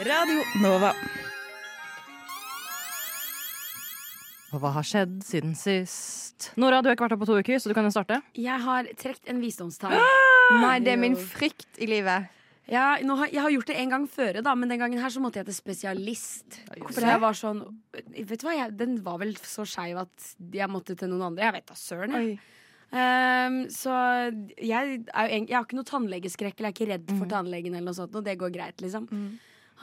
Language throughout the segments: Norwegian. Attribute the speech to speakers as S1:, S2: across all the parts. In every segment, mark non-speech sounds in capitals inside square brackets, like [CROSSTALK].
S1: Radio Nova.
S2: Og hva har skjedd siden sist? Nora, du har ikke vært her på to uker, så du kan jo starte.
S3: Jeg har trukket en visdomstann.
S4: Nei, det er min frykt i livet.
S3: Ja, nå har, jeg har gjort det en gang før, da, men den gangen her så måtte jeg til spesialist. For jeg var sånn Vet du hva, jeg, Den var vel så skeiv at jeg måtte til noen andre. Jeg vet da søren. jeg.
S4: Oi.
S3: Ehm, så jeg, er jo, egent- jeg har ikke noe tannlegeskrekk, eller jeg er ikke redd
S4: Mm.
S3: for tannlegen, eller noe sånt, og det går greit, liksom.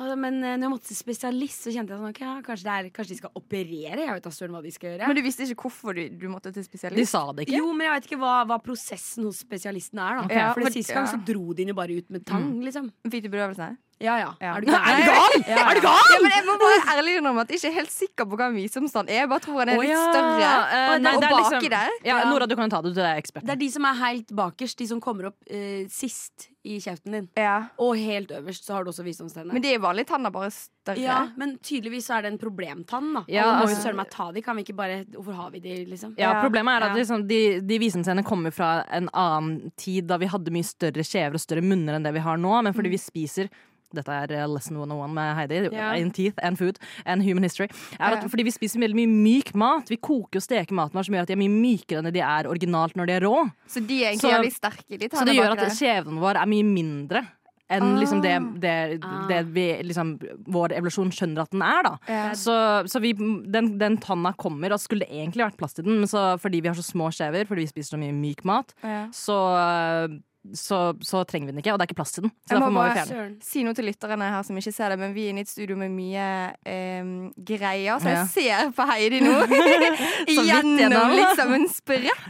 S3: Ah, Men eh, når jeg måtte til spesialist, så kjente jeg sånn, ok, ja, kanskje, det er, kanskje de skal operere? Jeg vet da søren hva de skal gjøre.
S4: Men du visste ikke hvorfor du, du måtte til
S2: De
S4: spesialist?
S2: sa det ikke.
S3: Jo, men jeg vet ikke hva, hva prosessen hos spesialisten er, da.
S4: Ok, ja,
S3: for
S4: for- Mm.
S3: det siste gang
S4: ja.
S3: så dro de den jo bare ut med tang, liksom.
S4: Fikk du bedøvelse?
S3: Ja, ja.
S4: Ja.
S3: Er du gal?
S4: Er du
S3: gal? Ja, ja.
S4: Ja, men jeg må bare ærlig innrømme at jeg ikke er helt sikker på hva en visdomstand er. Jeg bare tror han er
S2: Å,
S4: litt
S2: ja.
S4: større.
S2: Eh, nei,
S4: og
S2: det er
S4: baki
S2: liksom-
S4: der
S2: Ja,
S3: Ja.
S2: Nora, du kan jo ta det. Du er
S3: Det
S2: eksperten.
S3: er de som er helt bakerst, de som kommer opp eh, sist i kjeften din.
S4: ja.
S3: Og helt øverst så har du også visdomstennene.
S4: Men det er jo vanlig tanner, bare større.
S3: ja, men tydeligvis så er det en problemtann, da.
S2: Ja,
S3: Ja, må jo
S2: altså-
S3: søren meg ta de, kan vi ikke bare Hvorfor har vi de, liksom?
S2: Ja,
S4: Ja,
S2: problemet er at
S4: ja.
S2: liksom, de, de visdomstennene kommer fra en annen tid da vi hadde mye større kjever og større munner enn det vi har nå, men fordi vi spiser dette er eh, Lesson 101 med Heidi.
S3: Ja.
S2: In teeth and food and human history. Er at
S4: Ja.
S2: fordi vi spiser veldig mye myk mat. Vi koker og steker maten vår som gjør at de er mye mykere enn det de er originalt når de er rå.
S4: Så de er
S2: Så-
S4: egentlig jævlig sterke, de
S2: Så det
S4: tannene
S2: gjør
S4: baki
S2: at
S4: der.
S2: kjeven vår er mye mindre enn
S4: Ah.
S2: liksom det, det,
S3: Ah.
S2: det vi, liksom, vår evolusjon skjønner at den er. Da.
S4: Ja.
S2: Så, så vi, den, den tanna kommer, og skulle det egentlig vært plass til den, men så, fordi vi har så små skjever, fordi vi spiser så mye myk mat,
S4: Ja.
S2: så, så, så trenger vi den ikke, og det er ikke plass til den. Så
S4: Jeg må
S2: derfor må
S4: bare-
S2: vi fjerne den.
S3: Søren.
S4: Si noe til lytterne her som ikke ser det, men vi er inne i et studio med mye em, greier, så jeg
S2: Ja.
S4: ser på Heidi
S2: [LAUGHS]
S4: nå. [LAUGHS]
S2: vidt
S4: Gjennom
S2: gjennom.
S4: liksom en sprekk.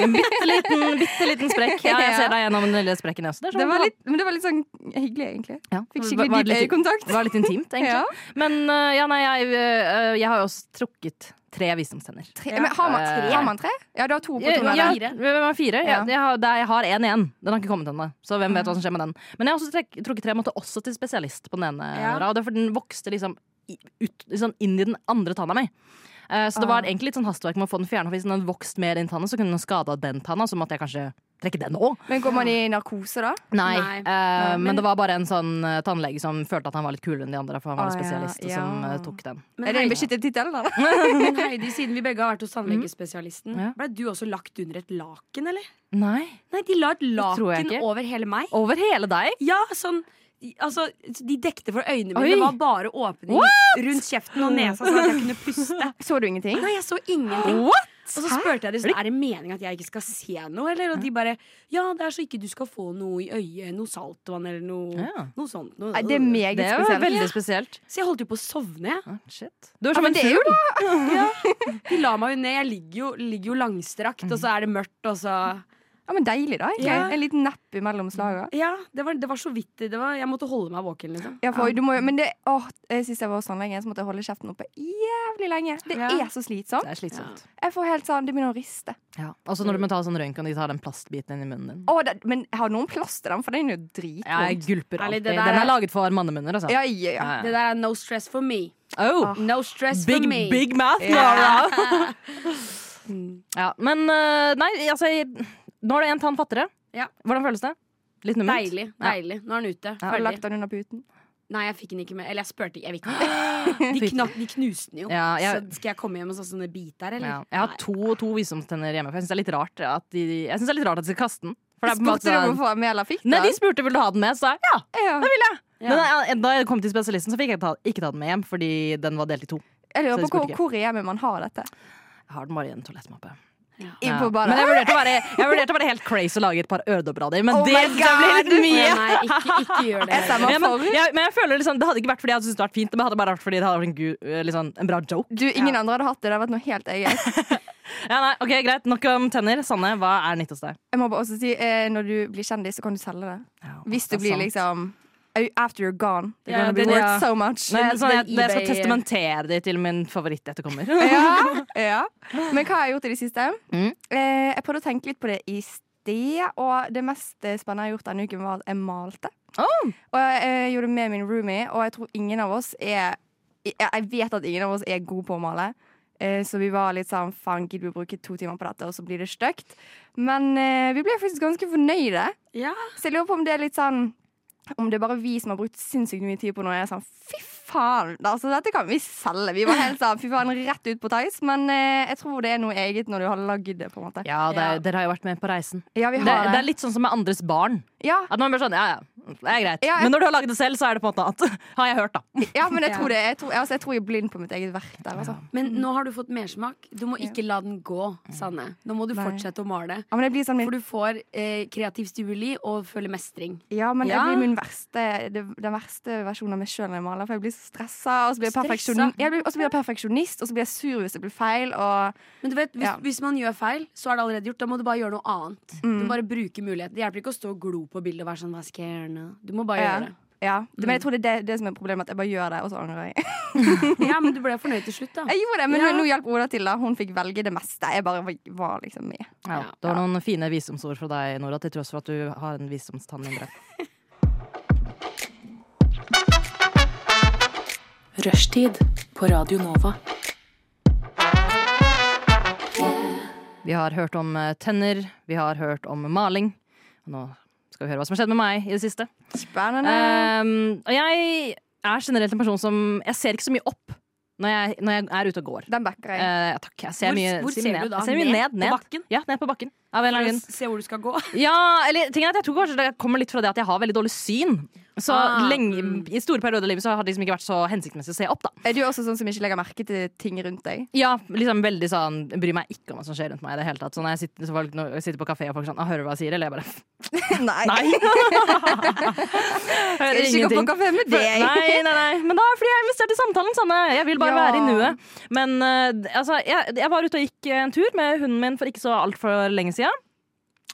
S2: En bitte
S4: [LAUGHS]
S2: liten, bitte liten sprekk. Ja, jeg
S4: Ja.
S2: ser deg gjennom den lille sprekken jeg også. Det er sånn
S4: Det var
S2: bra.
S4: litt, Mm. men det var litt sånn hyggelig, egentlig.
S2: Ja.
S4: Fikk
S2: Det
S4: skikkelig
S2: var
S4: dyp
S2: litt-
S4: øyekontakt.
S2: Det var litt intimt, egentlig.
S4: [LAUGHS] Ja.
S2: Men øh, ja, nei, jeg, øh, jeg har jo også trukket tre visdomstenner.
S4: Tre, men har, man,
S2: Eh,
S4: har man tre? Ja, du har to på
S2: Ja,
S4: to.
S2: ja,
S4: eller?
S2: hvem er fire?
S4: Ja.
S2: Ja. Jeg har- det- jeg har én igjen. Den har ikke kommet ennå. Så hvem vet hva som skjer med den. Men jeg har også trekk, trukket tre. Jeg måtte også til spesialist på den ene.
S3: Ja.
S2: Nora, Og det er fordi den vokste liksom, i- ut, liksom inn i den andre tanna mi. Eh, så det var
S4: Ah.
S2: egentlig litt sånn hastverk med å få den fjerna. Hvis den hadde vokst mer inn i tanna, så kunne den skada den tanna. Så måtte jeg kanskje trekke den òg.
S4: Men går man i narkose, da?
S2: Nei.
S3: Nei.
S2: eh, men, det var bare en sånn eh, tannlege som følte at han var litt kulere enn de andre, for han var
S4: Å, ja,
S2: en spesialist, og
S4: ja.
S2: som eh, tok den.
S3: Men
S4: Er det en
S3: Heidi,
S4: beskyttet tittel, da? [LAUGHS]
S3: [LAUGHS] men Heidi, siden vi begge har vært hos tannlegespesialisten,
S2: Ja.
S3: ble du også lagt under et laken, eller?
S2: Nei.
S3: Nei, de la et
S2: tror jeg
S3: laken
S2: ikke.
S3: over hele meg.
S2: Over hele deg?
S3: Ja, sånn Altså, De dekte for øynene mine.
S2: Oi.
S3: Det var bare åpning rundt kjeften og nesa, sånn at jeg kunne puste.
S4: Så du ingenting?
S3: Nei, jeg så ingenting.
S2: What?
S3: Og så spurte jeg dem sånn, er det meningen at jeg ikke skal se noe. Eller? Og de bare ja, det er så ikke du skal få noe i øyet. Noe saltvann eller noe,
S2: Ja.
S3: noe sånt. Noe.
S4: Nei, det er meget
S2: Det var
S4: spesielt.
S2: veldig spesielt.
S3: Så jeg holdt jo på å sovne. jeg.
S2: Ah, shit. Du er
S4: Ja,
S2: som
S4: men
S2: en
S4: det er
S2: fugl.
S4: jo da
S3: De la meg jo ned. Jeg ligger jo, ligger jo langstrakt, og så er det mørkt, og så
S4: ja, men deilig, da. egentlig.
S3: Ja.
S4: En liten napp imellom slaga.
S3: Ja, det var, det var så vidt det var. Jeg måtte holde meg våken, liksom.
S4: Ja, for, du må, jo- men det, åh, jeg sist jeg var hos tannlegen, så måtte jeg holde kjeften oppe jævlig lenge. Det
S3: Ja.
S4: er så slitsomt.
S2: Det er slitsomt.
S4: Jeg får helt sånn, Det begynner å riste.
S2: Ja. Altså når du må ta sånn røntgen, de tar den plastbiten inn i munnen din.
S4: Åh, det, men har noen plass til den? For den er jo
S2: Jeg
S4: dritvond.
S2: gulper
S3: Ærlig,
S2: alltid.
S3: det der
S2: Den
S3: er-
S2: er laget for mannemunner, altså.
S4: Ja, ja, ja.
S2: Ja,
S3: Det
S2: ja.
S3: Ah, der er no stress for me.
S2: Oh,
S3: No stress
S2: big,
S3: for me. Mm.
S2: big mouth, Laura! ja, men øh, nei, altså jeg- Nå er det en tann fattigere.
S3: Ja.
S2: Hvordan føles det? Litt numment?
S3: Deilig. deilig. Nå er den ute.
S4: Har du
S3: Ferdig.
S4: lagt den under puten?
S3: Nei, jeg fikk den ikke med. Eller jeg spurte ikke. Jeg
S2: [GASPS]
S3: vet ikke. De, knak, de knuste den jo.
S2: Ja, jeg-
S3: Så skal jeg komme hjem og så sånne biter, eller?
S2: Ja. Jeg har to, to visdomstenner hjemme, for jeg syns det er litt rart at de, jeg synes det er litt rart at de skal kaste den. For det er på en
S4: Spurte du
S2: måte- sånn-
S4: hvorfor Mela fikk den?
S2: Nei, de spurte vil du ha den med, så sa jeg ja.
S4: ja.
S3: Ja.
S2: Men da jeg- da jeg kom til spesialisten, så fikk jeg ta, ikke ta den med hjem, fordi den var delt i to.
S4: Jeg
S2: Så
S4: lurer
S2: de
S4: på hvor,
S2: spurte ikke.
S4: hvor i hjemmet man har dette.
S2: Jeg har den bare i en toalettmappe.
S4: I
S2: Ja.
S4: på badet.
S2: Men jeg vurderte å være, jeg vurderte å være helt crazy og lage et par øredobber av dem. Men
S4: Oh
S2: det
S4: my
S2: synes jeg ble litt
S4: God!
S2: mye.
S3: Nei, nei, ikke, ikke gjør det.
S4: Jeg stemmer
S2: Ja, men,
S4: for.
S2: [LAUGHS] jeg, men jeg føler liksom, Det hadde ikke vært fordi jeg hadde syntes det hadde vært fint, men det hadde bare vært fordi det hadde vært en, gu, eh, liksom, en bra joke.
S4: Du, ingen andre hadde hatt det. Det hadde vært noe helt eget.
S2: Ja, nei, ok, Greit, Nok om tenner. Sanne, hva er nytt hos deg?
S4: Jeg må bare også si, eh, Når du blir kjendis, så kan du selge det. Hvis du
S2: det er
S4: blir
S2: sant.
S4: liksom After you're gone. They're
S3: Ja,
S4: gonna be
S3: den-
S4: worth
S3: ja.
S4: so much.
S2: Nei, sånn, jeg,
S3: den
S2: jeg skal
S3: eBay-
S2: testamentere det til min favoritt-etterkommer.
S4: [LAUGHS] Ja,
S2: [LAUGHS]
S4: ja. Men hva har jeg gjort i det siste?
S2: Mm.
S4: Eh, jeg prøvde å tenke litt på det i sted, og det mest eh, spennende jeg har gjort denne uken, var at jeg malte.
S2: Oh.
S4: Og jeg eh, gjorde det med min roomie, og jeg tror ingen av oss er Jeg, jeg vet at ingen av oss er gode på å male. Eh, Så vi var litt sånn Faen, gidder vi å bruke to timer på dette, og så blir det stygt? Men eh, vi ble faktisk ganske fornøyde.
S3: Ja.
S4: Så jeg lurer på om det er litt sånn om det er bare vi som har brukt sinnssykt mye tid på noe, er jeg sånn fy faen! Altså, dette kan vi selge. Vi var helt sånn fy faen, rett ut på Tice. Men eh, jeg tror det er noe eget når du har lagd det, på en måte.
S2: Ja, det,
S3: Ja.
S2: Dere har jo vært med på reisen.
S4: Ja, vi
S2: Det,
S4: har
S2: det
S4: det.
S2: er litt sånn som med andres barn.
S4: Ja,
S2: At man blir sånn, ja, ja, det er greit
S4: Ja, jeg-
S2: Men når du har lagd det selv, så er det på en måte at [LAUGHS] Har jeg hørt, da.
S4: ja, men jeg
S3: Ja.
S4: tror det. Jeg tror, altså, jeg tror jeg er blind på mitt eget verk der, altså.
S3: Men
S2: Mm.
S3: nå har du fått mersmak. Du må ikke la den gå, Sanne. Nå må du
S4: Nei.
S3: fortsette å male.
S4: Ja, men jeg blir sånn min,
S3: For du får eh, kreativ stimuli og føler mestring.
S4: ja, men jeg
S3: Ja.
S4: blir min verste, det, den verste versjonen av meg sjøl når jeg maler. For jeg blir så stressa, og så blir jeg, perfeksjoni-
S3: Stressa?
S4: jeg, blir- og så blir jeg perfeksjonist, og så blir jeg sur hvis det blir feil. Og,
S3: Men du vet, hvis,
S4: Ja.
S3: hvis man gjør feil, så er det allerede gjort. Da må du bare gjøre noe annet. Du
S2: Mm.
S3: må bare bruke muligheten. Det hjelper ikke å stå og glo på bildet og være sånn Hva skal jeg gjøre nå? Du må bare
S4: ja,
S3: gjøre det.
S4: ja. Det, men jeg tror det er det, det som er problemet, at jeg bare gjør det, og så angrer jeg. [LAUGHS]
S3: Ja, men du ble fornøyd til slutt, da.
S4: Jeg gjorde det, men
S3: Ja.
S4: nå hjalp Oda til. da Hun fikk velge det meste. Jeg bare var- var liksom med.
S2: Ja,
S3: Ja.
S2: det var noen fine visdomsord fra deg, Nora, til tross for at du har en visdomstann mindre.
S1: [LAUGHS] Rushtid på Radio Nova.
S2: Vi har hørt om eh, tenner, vi har hørt om maling. Og nå skal vi høre hva som har skjedd med meg i det siste.
S4: Spennende.
S2: Ehm, og jeg er generelt en person som Jeg ser ikke så mye opp når jeg, når jeg er ute og går.
S4: Den backer jeg.
S2: Eh, takk. Jeg ser
S3: Hvor-
S2: mye,
S3: hvor
S2: ser
S3: ser
S2: mye
S3: du
S2: ned.
S3: da?
S2: Jeg ser mye
S3: Ned
S2: ned,
S3: på
S2: ned.
S3: bakken?
S2: Ja, ned på bakken. Av en eller annen grunn.
S3: Se hvor du skal gå.
S2: Ja, eller tingen er at jeg tror kanskje det kommer litt fra det at jeg har veldig dårlig syn. Så
S3: Ah,
S2: lenge,
S3: mm.
S2: I store perioder av livet så har det liksom ikke vært så hensiktsmessig å se opp. da
S4: Er du også sånn som ikke legger merke til ting rundt deg?
S2: [LAUGHS] Ja, liksom veldig sånn jeg Bryr meg ikke om hva som skjer rundt meg. i det hele tatt Så Når jeg sitter, så folk, når jeg sitter på kafé og folk sånn «Ah, 'Hører du hva jeg sier?' Eller jeg bare
S4: Nei.
S2: Nei! [LAUGHS]
S4: Skal
S2: Hører
S4: ikke gå på
S2: ingenting.
S4: kafé med deg.
S2: Nei, nei, nei. Men da er det fordi jeg har investert i samtalen, Sanne. Jeg vil
S4: Ja.
S2: bare være i nuet. Men eh, altså, jeg, jeg var ute og gikk en tur med hunden min for ikke så altfor lenge siden.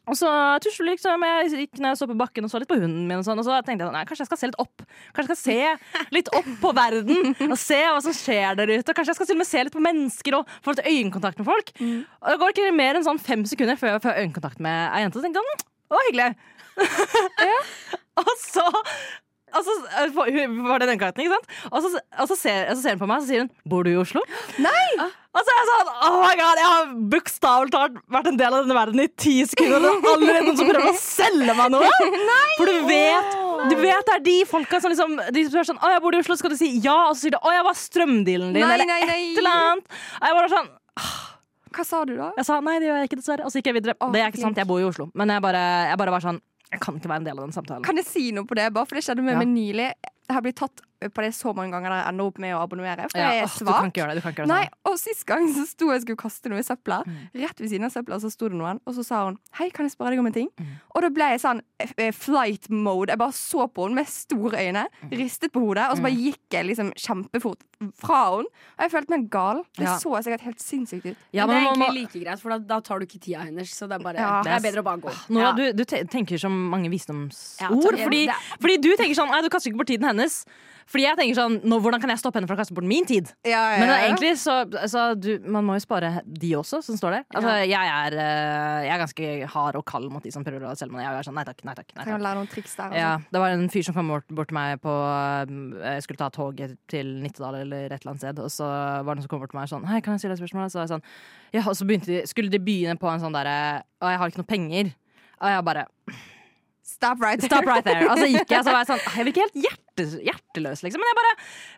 S2: Og så tuslet liksom, jeg gikk når jeg så på bakken og så litt på hunden min, og, sånn, og så tenkte jeg sånn, nei, kanskje jeg skal se litt opp. Kanskje jeg skal se litt opp på verden og se hva som skjer der ute. Og kanskje jeg skal til og med se litt på mennesker og få litt øyekontakt med folk. Og det går ikke mer enn sånn fem sekunder før jeg får øyekontakt med ei jente. Så tenkte jeg, «Hm, å, [LAUGHS] hyggelig. [LAUGHS] Og så Altså, hun var det den katten, ikke sant? Og så, og så, ser, og så ser hun på meg og så sier hun 'Bor du i Oslo?'
S4: Nei!
S2: Og så er jeg sånn Oh my god, jeg har bokstavelig talt vært en del av denne verden i ti sekunder, og det er allerede noen som prøver å selge meg
S4: [LAUGHS]
S2: noe! For du vet du vet det er de folka som liksom De som spør sånn 'Å, jeg bor i Oslo', skal du si ja? Og så sier du 'Å, jeg var strømdealen din',
S4: Nei,
S2: eller
S4: nei, nei.
S2: et eller annet. Og jeg var sånn
S4: Hva sa du da?
S2: Jeg sa 'Nei, det gjør jeg ikke, dessverre'. Og så gikk jeg videre.
S4: Å,
S2: det er ikke sant,
S4: fint.
S2: jeg bor i Oslo. Men jeg bare, jeg bare var sånn Jeg kan ikke være en del av den samtalen.
S4: Kan jeg si noe på det? Bare for det skjedde med
S2: Mm. Ja.
S4: meg nylig. Jeg har blitt tatt på det så mange ganger der jeg ender opp med å abonnere. For
S2: Ja,
S4: jeg er
S2: åh, du kan
S4: svak.
S2: ikke gjøre det. sånn. Du kan ikke gjøre det
S4: Nei, og Sist gang så sto jeg og skulle kaste noe i søpla.
S2: Mm.
S4: Rett ved siden av søpla så sto det noen, og så sa hun 'Hei, kan jeg spørre deg om en ting?'
S2: Mm.
S4: Og da ble jeg sånn f- eh, flight mode. Jeg bare så på henne med store øyne,
S2: Mm.
S4: ristet på hodet, og så bare gikk jeg liksom kjempefort fra henne. Og jeg følte meg gal. Det
S2: Ja.
S4: så sikkert helt sinnssykt ut.
S3: [LAUGHS]
S2: Ja,
S3: det
S2: men
S3: er
S2: man må-
S3: egentlig like greit, for da, da tar du ikke tida hennes. Så det er, bare,
S4: Ja.
S3: det er bedre å bare gå.
S2: Nora,
S4: Ja.
S2: Ah, du, du te tenker så mange visdomsord.
S3: Ja, takk.
S2: fordi,
S3: Det-
S2: fordi du tenker sånn Nei, du kaster ikke bort tiden hennes. Fordi jeg tenker sånn nå, Hvordan kan jeg stoppe henne fra å kaste bort min tid? Men det er egentlig så altså, du, Man må jo spare de også, som står der. Altså, jeg, er, eh, jeg er ganske hard og kald mot de som prøver å selge meg. Jeg er sånn, nei takk, nei takk. Nei,
S4: Trenger
S2: takk.
S4: å lære noen triks der. altså.
S2: Ja, det var en fyr som kom bort, bort til meg på um, Jeg skulle ta toget til Nittedal eller et eller annet sted. Og så var det noen som kom bort til meg sånn Hei, kan jeg stille deg et spørsmål? Så var jeg sånn, ja, og så begynte de, skulle de begynne på en sånn derre Å, jeg har ikke noe penger. Og jeg bare
S4: Stop right there.
S2: Stop right there. Og så gikk jeg, så var jeg sånn Jeg virker helt hjerte, hjerteløs, liksom. Men jeg bare,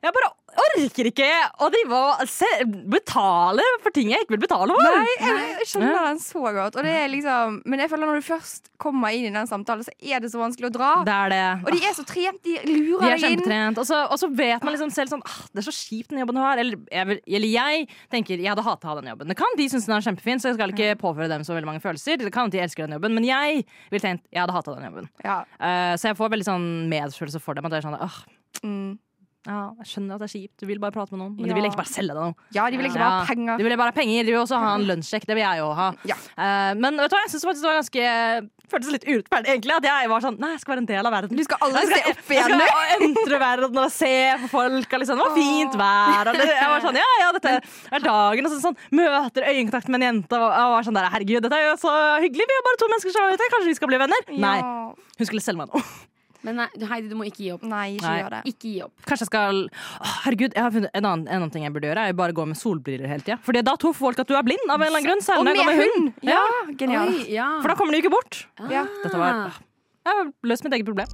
S2: jeg bare orker ikke å drive og se- betale for ting jeg ikke vil betale for.
S4: Nei, jeg, jeg skjønner den så godt. Og det er liksom, men jeg føler når du først kommer inn i den samtalen, så er det så vanskelig å dra.
S2: Det er det.
S4: Og de er så trent. De
S2: De
S4: lurer
S2: er
S4: deg inn.
S2: kjempetrent. Og så, og så vet man liksom selv sånn ah, Det er så kjipt den jobben du har. Eller jeg, vil- eller jeg tenker jeg hadde hata å ha den jobben. Det kan de synes den er kjempefin, så jeg skal ikke påføre dem så veldig mange følelser. Det kan at de elsker den jobben, men jeg ville tenkt jeg hadde hata den jobben.
S4: Ja.
S2: Eh, så jeg får veldig sånn medfølelse for dem. At det er sånn, åh,
S4: Mm.
S2: ja, jeg skjønner at det er kjipt, du vil bare prate med noen, men
S4: Ja.
S2: de vil egentlig bare selge deg noe.
S4: ja, de vil ikke bare ha penger. Mm.
S2: De vil bare ha penger. De vil også ha en lønnssjekk. Det vil jeg jo ha.
S4: Ja.
S2: Eh, men vet du hva, jeg synes faktisk det var ganske føltes litt urettferdig, egentlig. At jeg var sånn Nei, jeg skal være en del av verden.
S4: Du skal aldri
S2: Jeg
S4: se
S2: [LAUGHS]
S4: opp
S2: jeg
S4: igjen, du.
S2: skal Altså, entre verden og se på folk. Og liksom, det var fint vær. Og det, [LAUGHS] jeg var sånn, ja, ja, dette er dagen. Og så, sånn, møter øyekontakt med en jente. Og, og var sånn der, herregud, dette er jo så hyggelig. Vi er bare to mennesker som er ute. Kanskje vi skal bli venner? Nei.
S4: Ja.
S2: Hun skulle selge meg noe. [LAUGHS]
S3: Men nei, Heidi, du må ikke gi opp.
S4: Nei, ikke
S2: Nei.
S4: gjør det.
S3: Ikke gi opp.
S2: Kanskje jeg skal Å, Herregud, jeg har funnet en annen, en annen ting jeg burde gjøre. Er jo bare gå med solbriller hele tida. For da tror folk at du er blind. av en eller annen grunn Særlig
S4: Og
S2: når jeg går
S4: med
S2: med
S4: hund!
S2: hund.
S4: Ja, genial.
S3: Oi, ja.
S2: For da kommer de jo ikke bort.
S4: Ja.
S2: Dette var Jeg har løst mitt eget problem.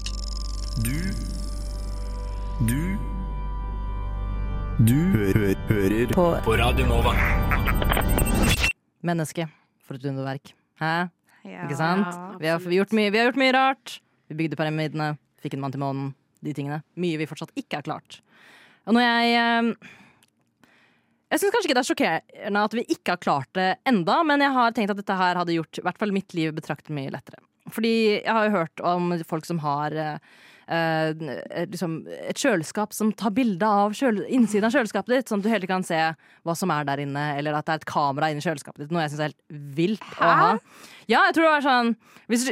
S5: Du Du hø hø hører på. Radio Nova.
S2: Menneske. For et underverk. Hæ?
S4: Ja.
S2: Ah. Ikke sant? Vi har, vi, har gjort mye, vi har gjort mye rart. Vi bygde pyramidene, fikk en mann til månen. De tingene. Mye vi fortsatt ikke er klart. Og når jeg eh, Jeg syns kanskje ikke det er sjokkerende at vi ikke har klart det enda, men jeg har tenkt at dette her hadde gjort i hvert fall mitt liv betraktelig mye lettere. Fordi jeg har jo hørt om folk som har eh, eh, liksom et kjøleskap som tar bilde av kjøle, innsiden av kjøleskapet ditt, sånn at du hele tiden kan se hva som er der inne, eller at det er et kamera inni kjøleskapet ditt. Noe jeg syns er helt vilt å ha. Ja, jeg tror det var sånn hvis,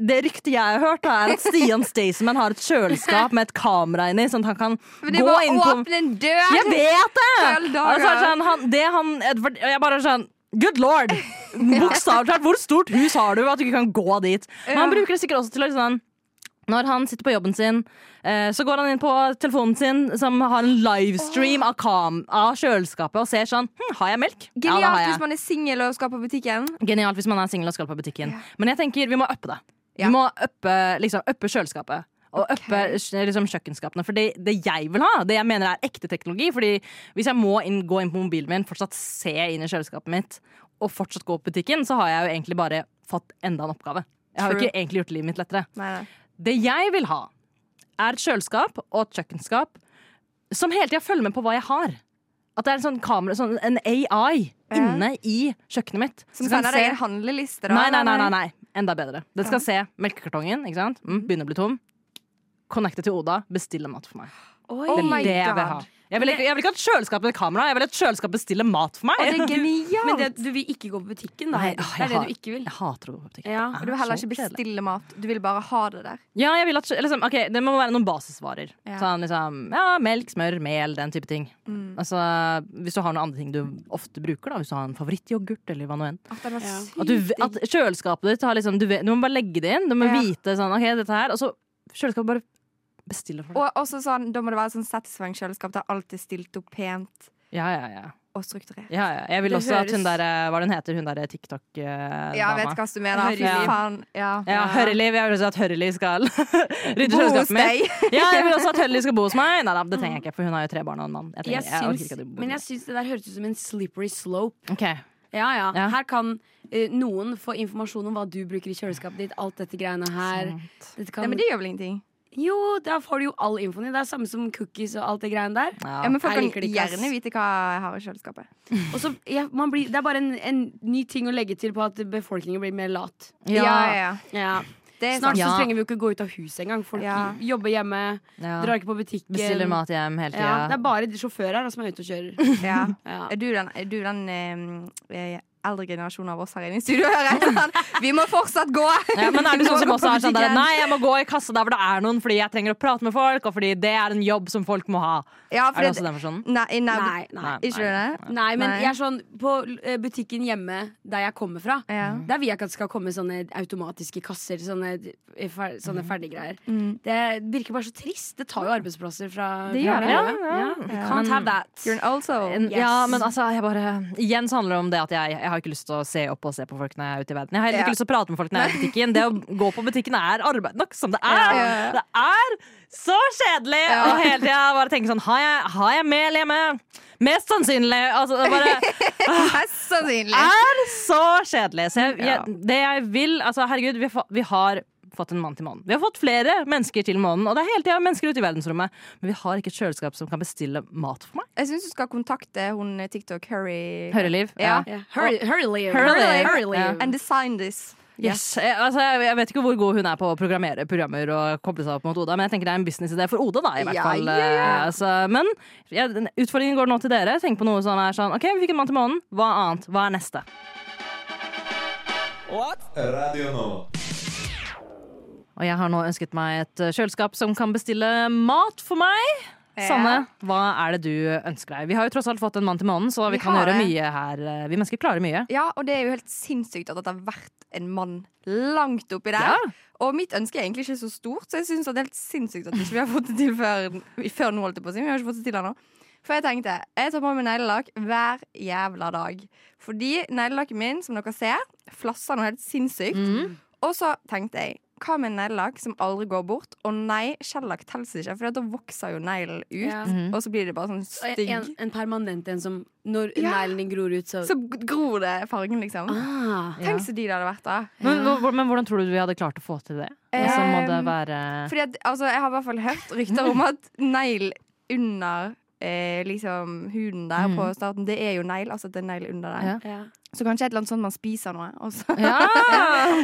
S2: Det ryktet jeg har hørt, da, er at Stian Staysman har et kjøleskap med et kamera inni, sånn at han kan
S4: Men det
S2: gå
S4: er bare
S2: inn
S4: å
S2: på
S4: åpne en dør!
S2: Jeg vet det!
S4: Alle dager.
S2: Altså, sånn, han, det han Edvard, og Jeg bare sånn Good lord! Bokstavelig talt, hvor stort hus har du at du ikke kan gå dit? Men han bruker det sikkert også til å liksom sånn når han sitter på jobben sin, eh, så går han inn på telefonen sin, som har en livestream av, kam av kjøleskapet, og ser sånn hm, Har jeg melk? Ja, det har
S4: Genialt
S2: jeg.
S4: hvis man er singel og skal på butikken.
S2: Genialt hvis man er singel og skal på butikken. Men jeg tenker vi må uppe det.
S4: Ja.
S2: Vi må uppe, liksom, uppe kjøleskapet. Og
S4: Ok.
S2: uppe eh, liksom, kjøkkenskapene. For det, det jeg vil ha, det jeg mener er ekte teknologi Fordi hvis jeg må inn, gå inn på mobilen min, fortsatt se inn i kjøleskapet mitt, og fortsatt gå på butikken, så har jeg jo egentlig bare fått enda en oppgave. Jeg har jo
S4: True.
S2: ikke egentlig gjort livet mitt lettere.
S4: Nei, nei.
S2: Det jeg vil ha, er et kjøleskap og et kjøkkenskap som hele tida følger med på hva jeg har. At det er en sånn kamera, sånn, en AI inne i kjøkkenet mitt.
S4: Som
S2: kan
S4: sender
S2: se-
S4: deg en handleliste, da?
S2: Nei, nei, nei,
S4: eller?
S2: nei, nei. Enda bedre. Den skal se melkekartongen. ikke sant? Mm, begynner å bli tom. Connecte til Oda. Bestille mat for meg.
S3: Oi.
S4: Oh
S2: Det
S4: my
S2: er det jeg vil ha.
S4: God.
S2: Jeg vil, ikke, jeg vil ikke at kjøleskapet med kamera. Jeg vil at kjøleskapet bestiller mat for meg.
S4: Og det er genialt!
S3: Men det, du vil ikke gå på butikken, da?
S2: Nei,
S3: Hedvig.
S2: åh,
S3: det
S2: jeg
S3: er det
S2: har-
S3: du ikke vil.
S2: Jeg hater å gå på butikk.
S3: Ja,
S2: Det
S3: og
S2: er
S4: Ah, Du vil heller
S2: så
S4: ikke
S2: kjedelig.
S4: bestille mat. Du vil bare ha det der.
S2: Ja, jeg vil at, liksom, ok, Det må være noen basisvarer.
S4: Ja. Mm.
S2: Sånn, liksom, ja, melk, smør, mel, den type ting. Altså, hvis du har noen andre ting du ofte bruker, da, hvis du har en favorittyoghurt eller hva nå enn.
S4: At den var
S3: Ja.
S4: sykt
S2: At, du, at kjøleskapet ditt har liksom du, vet, du må bare legge det inn. Du må
S4: Ja.
S2: vite sånn, ok, dette her. Og så kjøleskapet bare bestiller for deg.
S4: Og også sånn, Da må det være sånn satisfying kjøleskap der alt er stilt opp pent
S2: Ja, ja, ja.
S4: og strukturert.
S2: ja, ja. Jeg vil
S3: Det
S2: også at hun
S3: høres-
S2: der, eh, hva den heter, hun der TikTok-dama.
S4: Ja, jeg vet hva du mener. Fy
S2: Høreliv.
S4: faen. Ja.
S2: Ja, Hørreliv. Jeg vil også at Hørreliv skal [LAUGHS] rydde
S4: Bo hos
S2: kjøleskapet mitt.
S4: deg.
S2: Ja, jeg vil også at Hørreliv skal bo hos meg. Nei da, det trenger jeg ikke, for hun har jo tre barn og en mann. Jeg trenger,
S3: Jeg
S2: jeg orker
S3: syns,
S2: ikke at de bor
S3: men
S2: med
S3: jeg syns det der høres ut som en slippery slope.
S2: meg. Ok.
S3: Ja, ja.
S2: Ja.
S3: Her kan eh, noen få informasjon om hva du bruker i kjøleskapet ditt. Alt dette greiene her. Dette kan,
S4: Nei, men det gjør vel ingenting.
S3: Jo, da får du jo all infoen din. Det er samme som cookies og alt det greiene der.
S2: Ja.
S4: Ja, men Folk
S3: jeg
S4: kan
S3: liker det ikke, ass.
S4: gjerne vite hva jeg har i kjøleskapet.
S3: Og så, ja, man blir, det er bare en, en ny ting å legge til på at befolkningen blir mer lat.
S2: Ja.
S4: ja.
S3: Ja.
S4: Det er sant.
S3: Snart
S2: Ja.
S3: så trenger vi jo ikke gå ut av huset engang. Folk
S4: Ja.
S3: jobber hjemme,
S2: Ja.
S3: drar ikke på butikken.
S2: Bestiller mat hjem hele
S3: Ja, det
S2: tida.
S3: er bare de sjåfører da, som er ute og [LAUGHS] kjører.
S2: [LAUGHS]
S4: Ja.
S3: Ja.
S4: Er du den, er du den eh, eh, eldre generasjonen av oss her inne i studio? hører jeg? Sånn, Vi må fortsatt gå!
S2: Ja, men er du
S4: [LAUGHS]
S2: sånn som
S4: Gå
S2: også
S4: på
S2: er sånn der
S4: butikken.
S2: Nei, jeg må gå i kassa der hvor det er noen, fordi jeg trenger å prate med folk, og fordi det er en jobb som folk må ha.
S4: Ja,
S2: Er det
S4: fordi
S2: også den versjonen?
S4: Nei, nei,
S3: Nei, nei.
S4: Ikke du det?
S3: Nei, men
S4: Nei.
S3: jeg er sånn på eh, butikken hjemme der jeg kommer fra.
S2: Mm.
S4: Ja.
S3: Der vil jeg ikke at det skal komme sånne automatiske kasser. Sånne, eh, fer- sånne ferdiggreier.
S4: Mm.
S3: Det virker bare så trist. Det tar jo arbeidsplasser fra
S4: Det gjør
S3: fra
S4: det.
S3: hverandre.
S2: Ja, ja.
S3: We
S4: Ja.
S3: Can't have that.
S4: You're an old soul.
S2: En-
S4: [LAUGHS]
S3: Yes.
S2: Ja, men altså, jeg bare Igjen så handler det om det at jeg, jeg har ikke lyst til å se opp og se på folk når jeg er ute i verden. Jeg har heller ikke
S4: Ja.
S2: lyst til å prate med folk når jeg er i butikken. Det å gå på butikken er arbeid nok som det er.
S4: Ja.
S2: Det er så kjedelig
S4: Ja.
S2: å hele tida bare tenke sånn Har jeg, har jeg mel hjemme? Mest sannsynlig. Altså, det bare
S4: Mest sannsynlig.
S2: er så kjedelig. Så jeg,
S4: Ja.
S2: jeg, det jeg vil Altså, herregud, vi, har fa- vi har fått en mann til månen. Vi har fått flere mennesker til månen, og det er hele tida mennesker ute i verdensrommet. Men vi har ikke et kjøleskap som kan bestille mat for meg.
S4: Jeg syns du skal kontakte hun TikTok Hurry
S2: Høreliv.
S4: Ja.
S3: Yeah. Hurry, hurry, leave.
S2: Hurry, leave.
S3: Hurry, leave.
S4: And design this.
S2: Yes. Jeg, altså, jeg jeg vet ikke hvor god hun er på å programmere programmer og koble seg opp mot Oda, men jeg tenker det er en businessidé for Oda, da, i hvert
S4: Ja,
S2: fall.
S4: ja,
S2: Eh, altså, men ja, den- utfordringen går nå til dere. Tenk på noe som er sånn OK, vi fikk en mann til månen. Hva annet? Hva er neste?
S6: Radio Nova.
S2: Og jeg har nå ønsket meg et eh, kjøleskap som kan bestille mat for meg. Sanne, hva er det du ønsker deg? Vi har jo tross alt fått en mann til månen, så vi,
S4: Vi
S2: kan
S4: har
S2: gjøre
S4: det.
S2: mye her. eh, Vi mennesker klarer mye.
S4: Ja, og det er jo helt sinnssykt at det har vært en mann langt oppi der.
S2: Ja.
S4: Og mitt ønske er egentlig ikke så stort, så jeg syns det er helt sinnssykt at ikke vi ikke har fått det til før, før nå. holdt jeg på å si, men vi har ikke fått det til ennå. For jeg tenkte, jeg tar på meg neglelakk hver jævla dag. Fordi neglelakken min, som dere ser, flasser noe helt sinnssykt. Og så tenkte jeg, hva med neglelakk som aldri går bort? Og nei, skjellakk teller ikke, for da vokser jo neglen ut.
S3: Ja.
S4: Og så blir det bare sånn
S3: Og
S4: stygg.
S3: En, en permanent en som Når
S4: Ja.
S3: neglen din gror ut, så,
S4: Så gror det fargen, liksom.
S3: ah.
S2: Ja.
S4: Tenk så de det hadde vært, da.
S2: Men, hvor- men hvordan tror du vi hadde klart å få til det? Altså, må det
S4: Ehm,
S2: være
S4: Fordi at, altså, jeg har i hvert fall hørt rykter om at negl under eh, liksom huden der
S2: Mm.
S4: på starten, det er jo negl. Altså at det er negl under der.
S2: Ja.
S3: Ja.
S4: Så kanskje et eller annet sånt man spiser noe, og så
S2: [LAUGHS] Ja!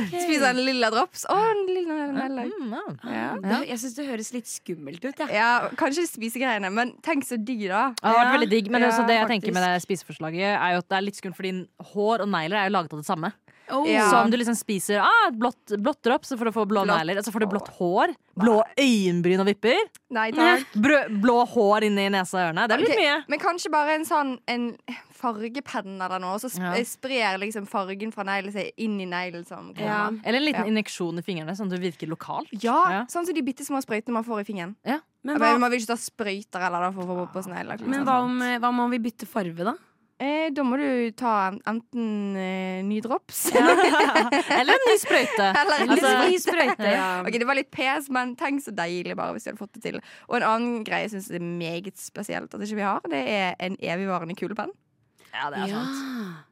S4: spiser en lilla drops. Å, en lilla negl.
S2: Mm, ja.
S4: Ja.
S3: Det, jeg syns det høres litt skummelt ut. Ja.
S4: ja, kanskje spisegreiene, men tenk så digg, da.
S2: Det har vært
S3: Ja.
S2: veldig digg, men det, er også
S4: Ja,
S2: det jeg tenker med det
S4: faktisk.
S2: spiseforslaget, er jo at det er litt skummelt, fordi hår og negler er jo laget av det samme.
S3: Oh.
S4: Ja.
S2: Så om du liksom spiser ah, blått, blått drops, så får du få blå
S4: Blått
S2: negler, så får du blått hår, blå øyenbryn og vipper,
S4: Nei takk.
S2: brø- blå hår inni nesa og ørene. Det blir
S4: Ok,
S2: mye.
S4: Men kanskje bare en sånn en fargepenn eller noe, og så sp
S2: Ja.
S4: sprer liksom fargen fra neglen seg inn i neglen som kommer.
S3: Ja.
S2: Eller en
S4: Ja.
S2: liten injeksjon i fingrene, sånn at det virker lokalt.
S4: Ja,
S2: Ja. [LAUGHS]
S4: sånn som de bitte små sprøytene man får i fingeren.
S3: Men,
S4: Men
S3: hva,
S4: man vil ikke ta sprøyter eller da, for å få på seg negler.
S3: men hva, om, eh, hva om vi bytter farve, da?
S4: Eh, da må du ta en- enten eh, ny drops [LAUGHS]
S2: Eller en ny sprøyte.
S4: eller en
S2: Altså-
S4: ny
S3: [LAUGHS]
S4: sprøyte.
S3: Ja.
S4: Ok, Det var litt pes, men tenk så deilig bare hvis du hadde fått det til. Og en annen greie jeg syns er meget spesielt at ikke vi har, det er en evigvarende kulepenn.
S2: Ja, det er
S3: ja.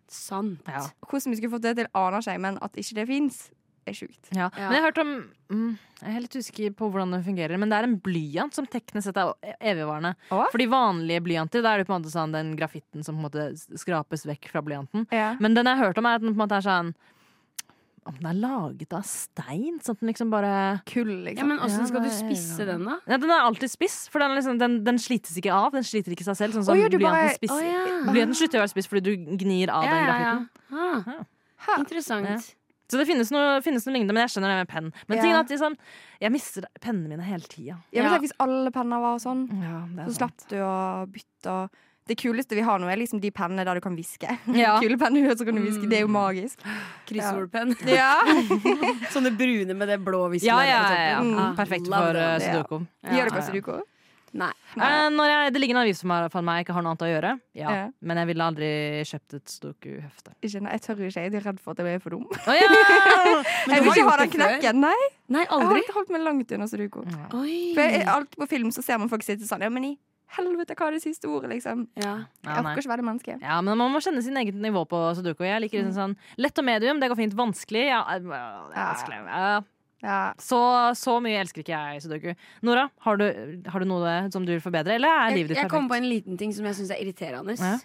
S2: sant.
S3: Sant.
S2: Ja.
S4: Hvordan vi skulle fått det til, aner jeg, men at ikke det fins, er sjukt.
S2: Ja. Men jeg har hørt om mm, Jeg er litt usikker på hvordan det fungerer, men det er en blyant som teknisk sett er e- evigvarende.
S4: Å?
S2: Fordi vanlige blyanter, da er det på en måte sånn den grafitten som på en måte skrapes vekk fra blyanten.
S4: Ja.
S2: Men den jeg har hørt om, er at den på en måte er sånn Om den er laget av stein? Sånn at den liksom bare
S4: Kull,
S3: Ja,
S4: liksom.
S3: men åssen skal
S2: Ja, det
S3: du
S2: er
S3: spisse
S2: jo-
S3: den, da?
S2: Nei, den er alltid spiss, for den, er liksom, den, den slites ikke av. Den sliter ikke seg selv, sånn som
S4: Å, ja, du
S2: blyanten
S4: bare-
S2: spisser.
S3: Å, ja.
S2: Blyanten slutter å være spiss fordi du gnir av den grafitten.
S3: Ah,
S4: Ha.
S3: Interessant.
S2: Ja. Så det finnes noe, finnes noe lignende, men jeg skjønner det med penn. Men
S4: Ja.
S2: tingen er at liksom, jeg mister pennene mine hele tida.
S4: Ja, men
S3: Ja.
S4: tenk Hvis alle penner var sånn,
S2: Ja, det
S4: så slapp du å bytte. og- Det kuleste vi har nå, er liksom de pennene der du kan hviske.
S3: [LAUGHS]
S2: Ja.
S4: Kulepenner så kan du hviske. Det er jo
S3: Mm.
S4: magisk.
S3: Kryssordpenn.
S4: Ja
S3: [LAUGHS] Sånne brune med det blå visken.
S2: Ja,
S3: der,
S2: ja,
S3: for
S2: ja, ja.
S3: eksempel.
S4: Mm.
S3: Ah,
S2: Perfekt
S3: love
S2: for uh,
S3: those.
S4: Ja.
S2: sudoku.
S4: [LAUGHS] Gjør det på
S2: Ja.
S4: sudoku?
S3: Nei.
S2: Eh, når jeg, det ligger en avis for meg, for meg jeg ikke har noe annet å gjøre. Ja.
S4: Ja.
S2: Men jeg ville aldri kjøpt et sudoku-hefte. [LAUGHS]
S4: Ikke, nei, jeg tør ikke. Jeg er redd for at jeg blir for
S3: [LAUGHS]
S4: dum.
S2: Å, ja!
S3: Men
S4: jeg vil ikke ha den
S3: du har gjort det før.
S4: knekken. Nei,
S3: Nei,
S4: jeg
S3: aldri.
S4: har holdt meg langt unna sudoku. For
S3: Oi.
S4: jeg, alt på film så ser man folk sitte sånn Ja, men i helvete, hva er det siste ordet, liksom? Jeg
S3: Ja.
S2: Ja, nei.
S4: orker ikke være det mennesket.
S2: ja, men Man må kjenne sin eget nivå på sudoku. Jeg liker liksom sånn Lett og medium, det går fint. Vanskelig, ja. eh, det er vanskelig. Ja.
S4: Ja.
S2: Så, så mye elsker ikke jeg sudoku. Nora, har du, har du noe som du vil forbedre, eller er
S3: Jeg,
S2: livet ditt
S3: jeg
S2: perfekt?
S3: kom på en liten ting som jeg syns er irriterende.
S2: Ja.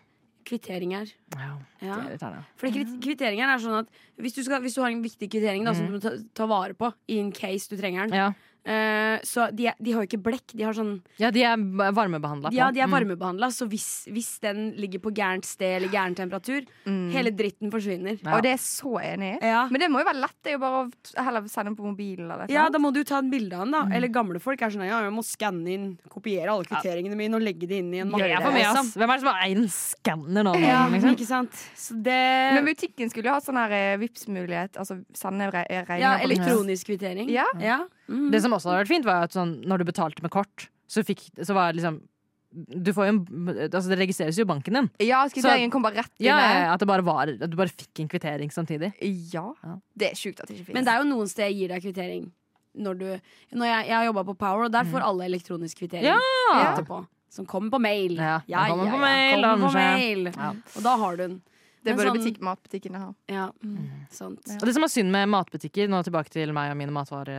S3: Kvitteringer.
S2: Ja, det
S3: Ja.
S2: er irriterende.
S3: Fordi kvit- kvitteringer er sånn at hvis du, skal, hvis du har en viktig kvittering da, som du må ta, ta vare på in case du trenger den
S2: Mm. Ja.
S3: eh, Så de, er- de har jo ikke blekk. De har sånn
S2: ja, de er b- varmebehandla. på.
S3: Ja, de er
S2: Mm.
S3: varmebehandla, så hvis, hvis den ligger på gærent sted eller gæren temperatur, hele dritten forsvinner.
S2: Mm. Ja.
S4: Mm. Og det er jeg så enig i.
S3: Ja.
S4: Men det må jo være lett. Det er jo bare å t- heller sende den på mobilen eller sånn. et
S3: Ja,
S4: eller
S3: da
S4: annet.
S3: må du ta et bilde av
S2: Mm.
S3: den, da. Eller gamle folk er sånn ja, jeg må skanne inn, kopiere alle kvitteringene mine og legge det inn i en
S2: Det er for meg, ass. Hvem er det som har en skanner nå?
S3: Ja,
S2: liksom?
S3: ikke sant? Så det
S4: Men butikken skulle jo hatt sånn her eh, Vipps-mulighet. Altså sende re regninger
S3: Ja,
S4: på Vipps.
S3: elektronisk kvittering.
S4: Ja.
S3: Ja. Mm.
S2: Det som også hadde vært fint, var at sånn, når du betalte med kort, så, fikk, så var det liksom du får jo en, altså Det registreres jo i banken din.
S4: Ja,
S2: Så-
S4: kvitteringen kom bare rett inn.
S2: Ja, ja,
S4: der.
S2: ja, at, det bare var, at du bare fikk en kvittering samtidig. Ja.
S4: ja. Det er sjukt at det ikke fins.
S3: Men det er jo noen steder jeg gir deg kvittering. Når du, når jeg, jeg har jobba på Power, og der får alle elektronisk kvittering
S2: Mm. Ja!
S3: etterpå. Som kommer på mail.
S2: Ja, den kommer på mail,
S3: kommer
S2: Anders,
S3: på
S2: ja.
S3: mail.
S2: Ja.
S3: Og da har du den.
S4: Det
S3: Men
S4: burde
S3: sånn-
S4: butikk, matbutikkene ha.
S3: Ja, mm, sant.
S2: Og det som er synd med matbutikker, nå tilbake til meg og mine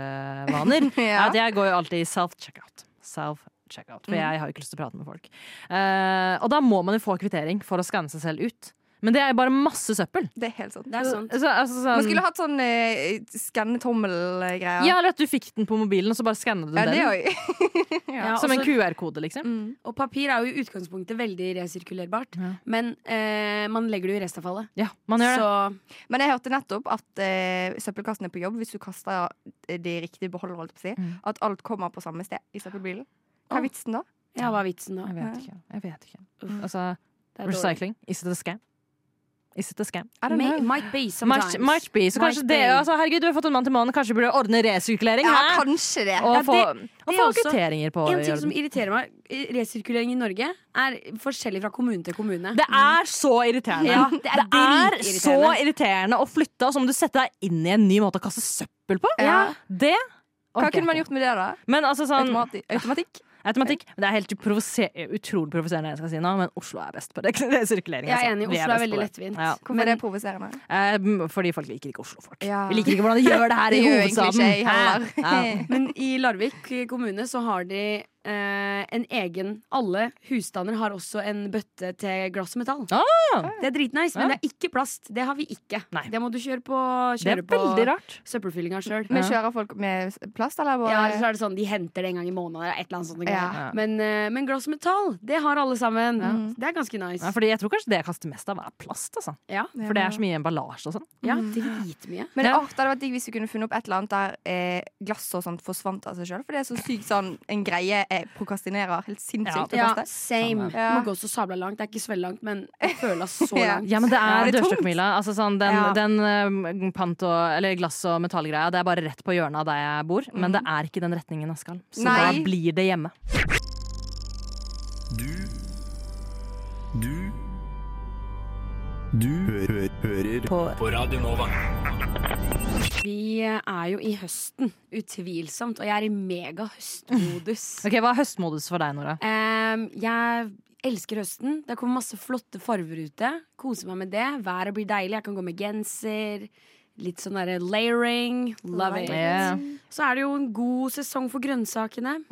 S2: matvarevaner, er
S4: Ja.
S2: at jeg går jo alltid i self-checkout. Self-checkout, For jeg har jo ikke lyst til å prate med folk. Eh, og da må man jo få kvittering for å skanne seg selv ut. Men det er jo bare masse søppel.
S4: Det er helt sant.
S3: Det er sant.
S2: Så, altså,
S4: Man
S2: sånn-
S4: skulle hatt sånn eh, skanne tommel-greier.
S2: ja, eller at du fikk den på mobilen, og så bare skannet du
S4: Ja,
S2: den.
S4: det òg.
S3: Ja, altså-
S2: Som en
S3: også-
S2: QR-kode, liksom.
S3: og papir er jo i utgangspunktet veldig resirkulerbart,
S2: Ja.
S3: men eh, man legger det jo i restavfallet.
S2: Ja, man gjør det.
S3: Så
S4: [LAUGHS] Men jeg hørte nettopp at eh, søppelkassen er på jobb hvis du kaster eh, de riktige beholder, holdt jeg på å si.
S2: Mm.
S4: At alt kommer på samme sted i søppelbilen. Hva
S3: Åh.
S4: er vitsen da?
S3: ja, hva er vitsen da?
S2: Jeg vet ikke. Jeg vet ikke.
S3: Uff.
S2: Altså,
S3: Det er dårlig.
S2: recycling is it a scam? Is it a scam?
S4: I don't
S3: May,
S4: know.
S3: might be sometimes.
S2: Might, might be. Så
S3: Might
S2: kanskje
S3: be.
S2: det, altså, herregud, du har fått en mann til månen, kanskje du burde ordne resirkulering?
S4: Ja,
S2: hæ?
S4: kanskje det.
S2: og
S3: Ja,
S2: få,
S3: det-
S2: og få
S3: det er også
S2: kvitteringer på
S3: En ting som
S2: jorden.
S3: irriterer meg, resirkulering i Norge, er forskjellig fra kommune til kommune.
S2: Det er så irriterende.
S3: Ja, det er
S2: er
S3: dritirriterende.
S2: så irriterende å flytte, og så må du sette deg inn i en ny måte å kaste søppel på.
S4: Ja.
S2: Det
S4: Hva
S2: orker jeg
S4: kunne man
S2: ikke.
S4: gjort med det, da?
S2: Men altså sånn
S4: Automati automatikk?
S2: [LAUGHS] Automatikk. Men det er helt provoser utrolig provoserende, det jeg skal si nå, men Oslo er best på det. [LAUGHS] det er sirkulering,
S3: Jeg er
S2: altså.
S3: enig,
S2: Vi
S3: Oslo er
S2: best
S3: veldig
S2: på det.
S3: lettvint.
S2: Ja.
S4: Hvorfor er det provoserende?
S2: Eh, m, Fordi folk liker ikke Oslo-folk.
S4: Ja.
S2: Vi liker ikke hvordan de
S4: [LAUGHS]
S2: gjør det her i
S4: Det gjør egentlig
S2: hovedstaden.
S4: ikke jeg heller. [LAUGHS]
S2: Hæ? Ja.
S3: Men i Larvik kommune så har de eh, en egen Alle husstander har også en bøtte til glass og metall. Det er dritnice,
S2: Ah! Ja.
S3: men det er ikke plast. Det har vi ikke.
S2: Nei.
S3: Det må du kjøre på,
S2: Det er
S3: kjøre på
S2: veldig rart.
S3: søppelfyllinga sjøl.
S4: Men
S2: Ja.
S4: kjører folk med plast, eller? bare-
S3: Ja, eller så er det sånn, De henter det en gang i måneden. Eller et eller annet sånt
S4: Ja.
S2: Ja.
S3: greier. men, eh, men glass og metall, det har alle sammen. Det er ganske
S2: Ja,
S3: nice.
S2: fordi jeg tror kanskje det jeg kaster mest av, er plast. Altså.
S3: Ja,
S2: For det er så mye emballasje og sånn.
S3: ja Dritmye.
S4: Men
S2: Ja.
S4: åh, det hadde vært digg hvis vi kunne funnet opp et eller annet der eh, glasset og sånt forsvant av seg sjøl. For det er så sykt sånn en greie jeg prokrastinerer helt sinnssykt. å
S3: Ja,
S4: kaste.
S3: same.
S4: Ja.
S3: Må gå så sabla langt. Det er ikke så veldig langt, men jeg føler [LAUGHS] så
S4: Ja.
S3: langt.
S2: Ja, men det er,
S4: det er tungt.
S2: dørstokkmila. Altså, sånn, den
S4: Ja.
S2: den eh, pant og, eller glass- og metallgreia det er bare rett på hjørnet av der jeg bor. Men det er ikke den retningen jeg skal. Så
S4: Nei.
S2: da blir det hjemme.
S5: Du Du Du hø hø hører på, på Radio Nova.
S3: Vi er jo i høsten, utvilsomt, og jeg er
S2: [LAUGHS]
S3: i mega-høstmodus.
S2: Ok, Hva er høstmodus for deg, Nora?
S3: Em, Ehm, jeg elsker høsten. Det kommer masse flotte farver ute. Koser meg med det. Været blir deilig. Jeg kan gå med genser. Litt sånn derre layering. Love it.
S2: Yeah.
S3: Så er det jo en god sesong for
S2: [LAUGHS]
S3: grønnsakene.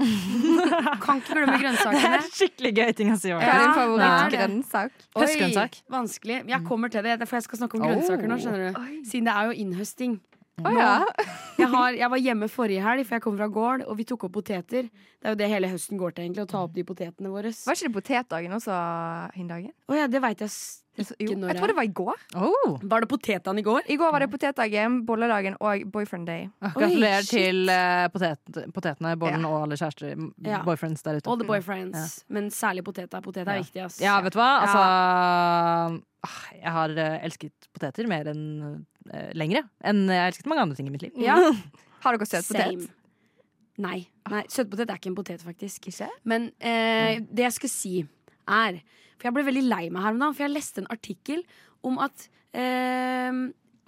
S3: kan ikke glemme
S2: Det er
S3: grønnsakene.
S2: en skikkelig gøy ting å si.
S4: Hva er
S2: Maria.
S3: Ja,
S4: din
S3: det er det.
S4: favorittgrønnsak?
S3: Oi,
S2: Høstgrønnsak.
S3: Vanskelig. Jeg kommer til det, for jeg skal snakke om
S2: Oh.
S3: grønnsaker nå, skjønner du. Siden det er jo innhøsting.
S4: Å ja.
S3: jeg, har, jeg var hjemme forrige helg, for jeg kom fra gård, og vi tok opp poteter. Det er jo det hele høsten går til, egentlig, å ta opp de potetene våre.
S4: Var ikke det potetdagen også hin dagen?
S3: Å ja, det veit jeg s-
S4: Jo,
S3: ikke når
S4: jeg tror det var i går.
S2: Oh,
S3: Var det potetene i går?
S4: I går var det potetdagen, bolledagen og boyfriend day.
S2: gratulerer
S3: shit.
S2: til eh, potet, potetene, bollen
S4: Ja.
S2: og alle kjærester, m-
S3: Ja.
S2: boyfriends der ute.
S3: All the boyfriends. Men særlig poteta. Poteta er
S2: Ja.
S3: viktig, ass.
S2: Ja, vet du hva? Altså, ah, jeg har eh, elsket poteter mer enn eh, lengre enn jeg har elsket mange andre ting i mitt liv. [LAUGHS]
S3: Ja,
S4: Har dere søt
S3: same.
S4: potet?
S3: Nei. Nei søtpotet er ikke en potet, faktisk.
S4: Ikke?
S3: Men eh, det jeg skal si, er For jeg ble veldig lei meg her om dagen, for jeg leste en artikkel om at eh,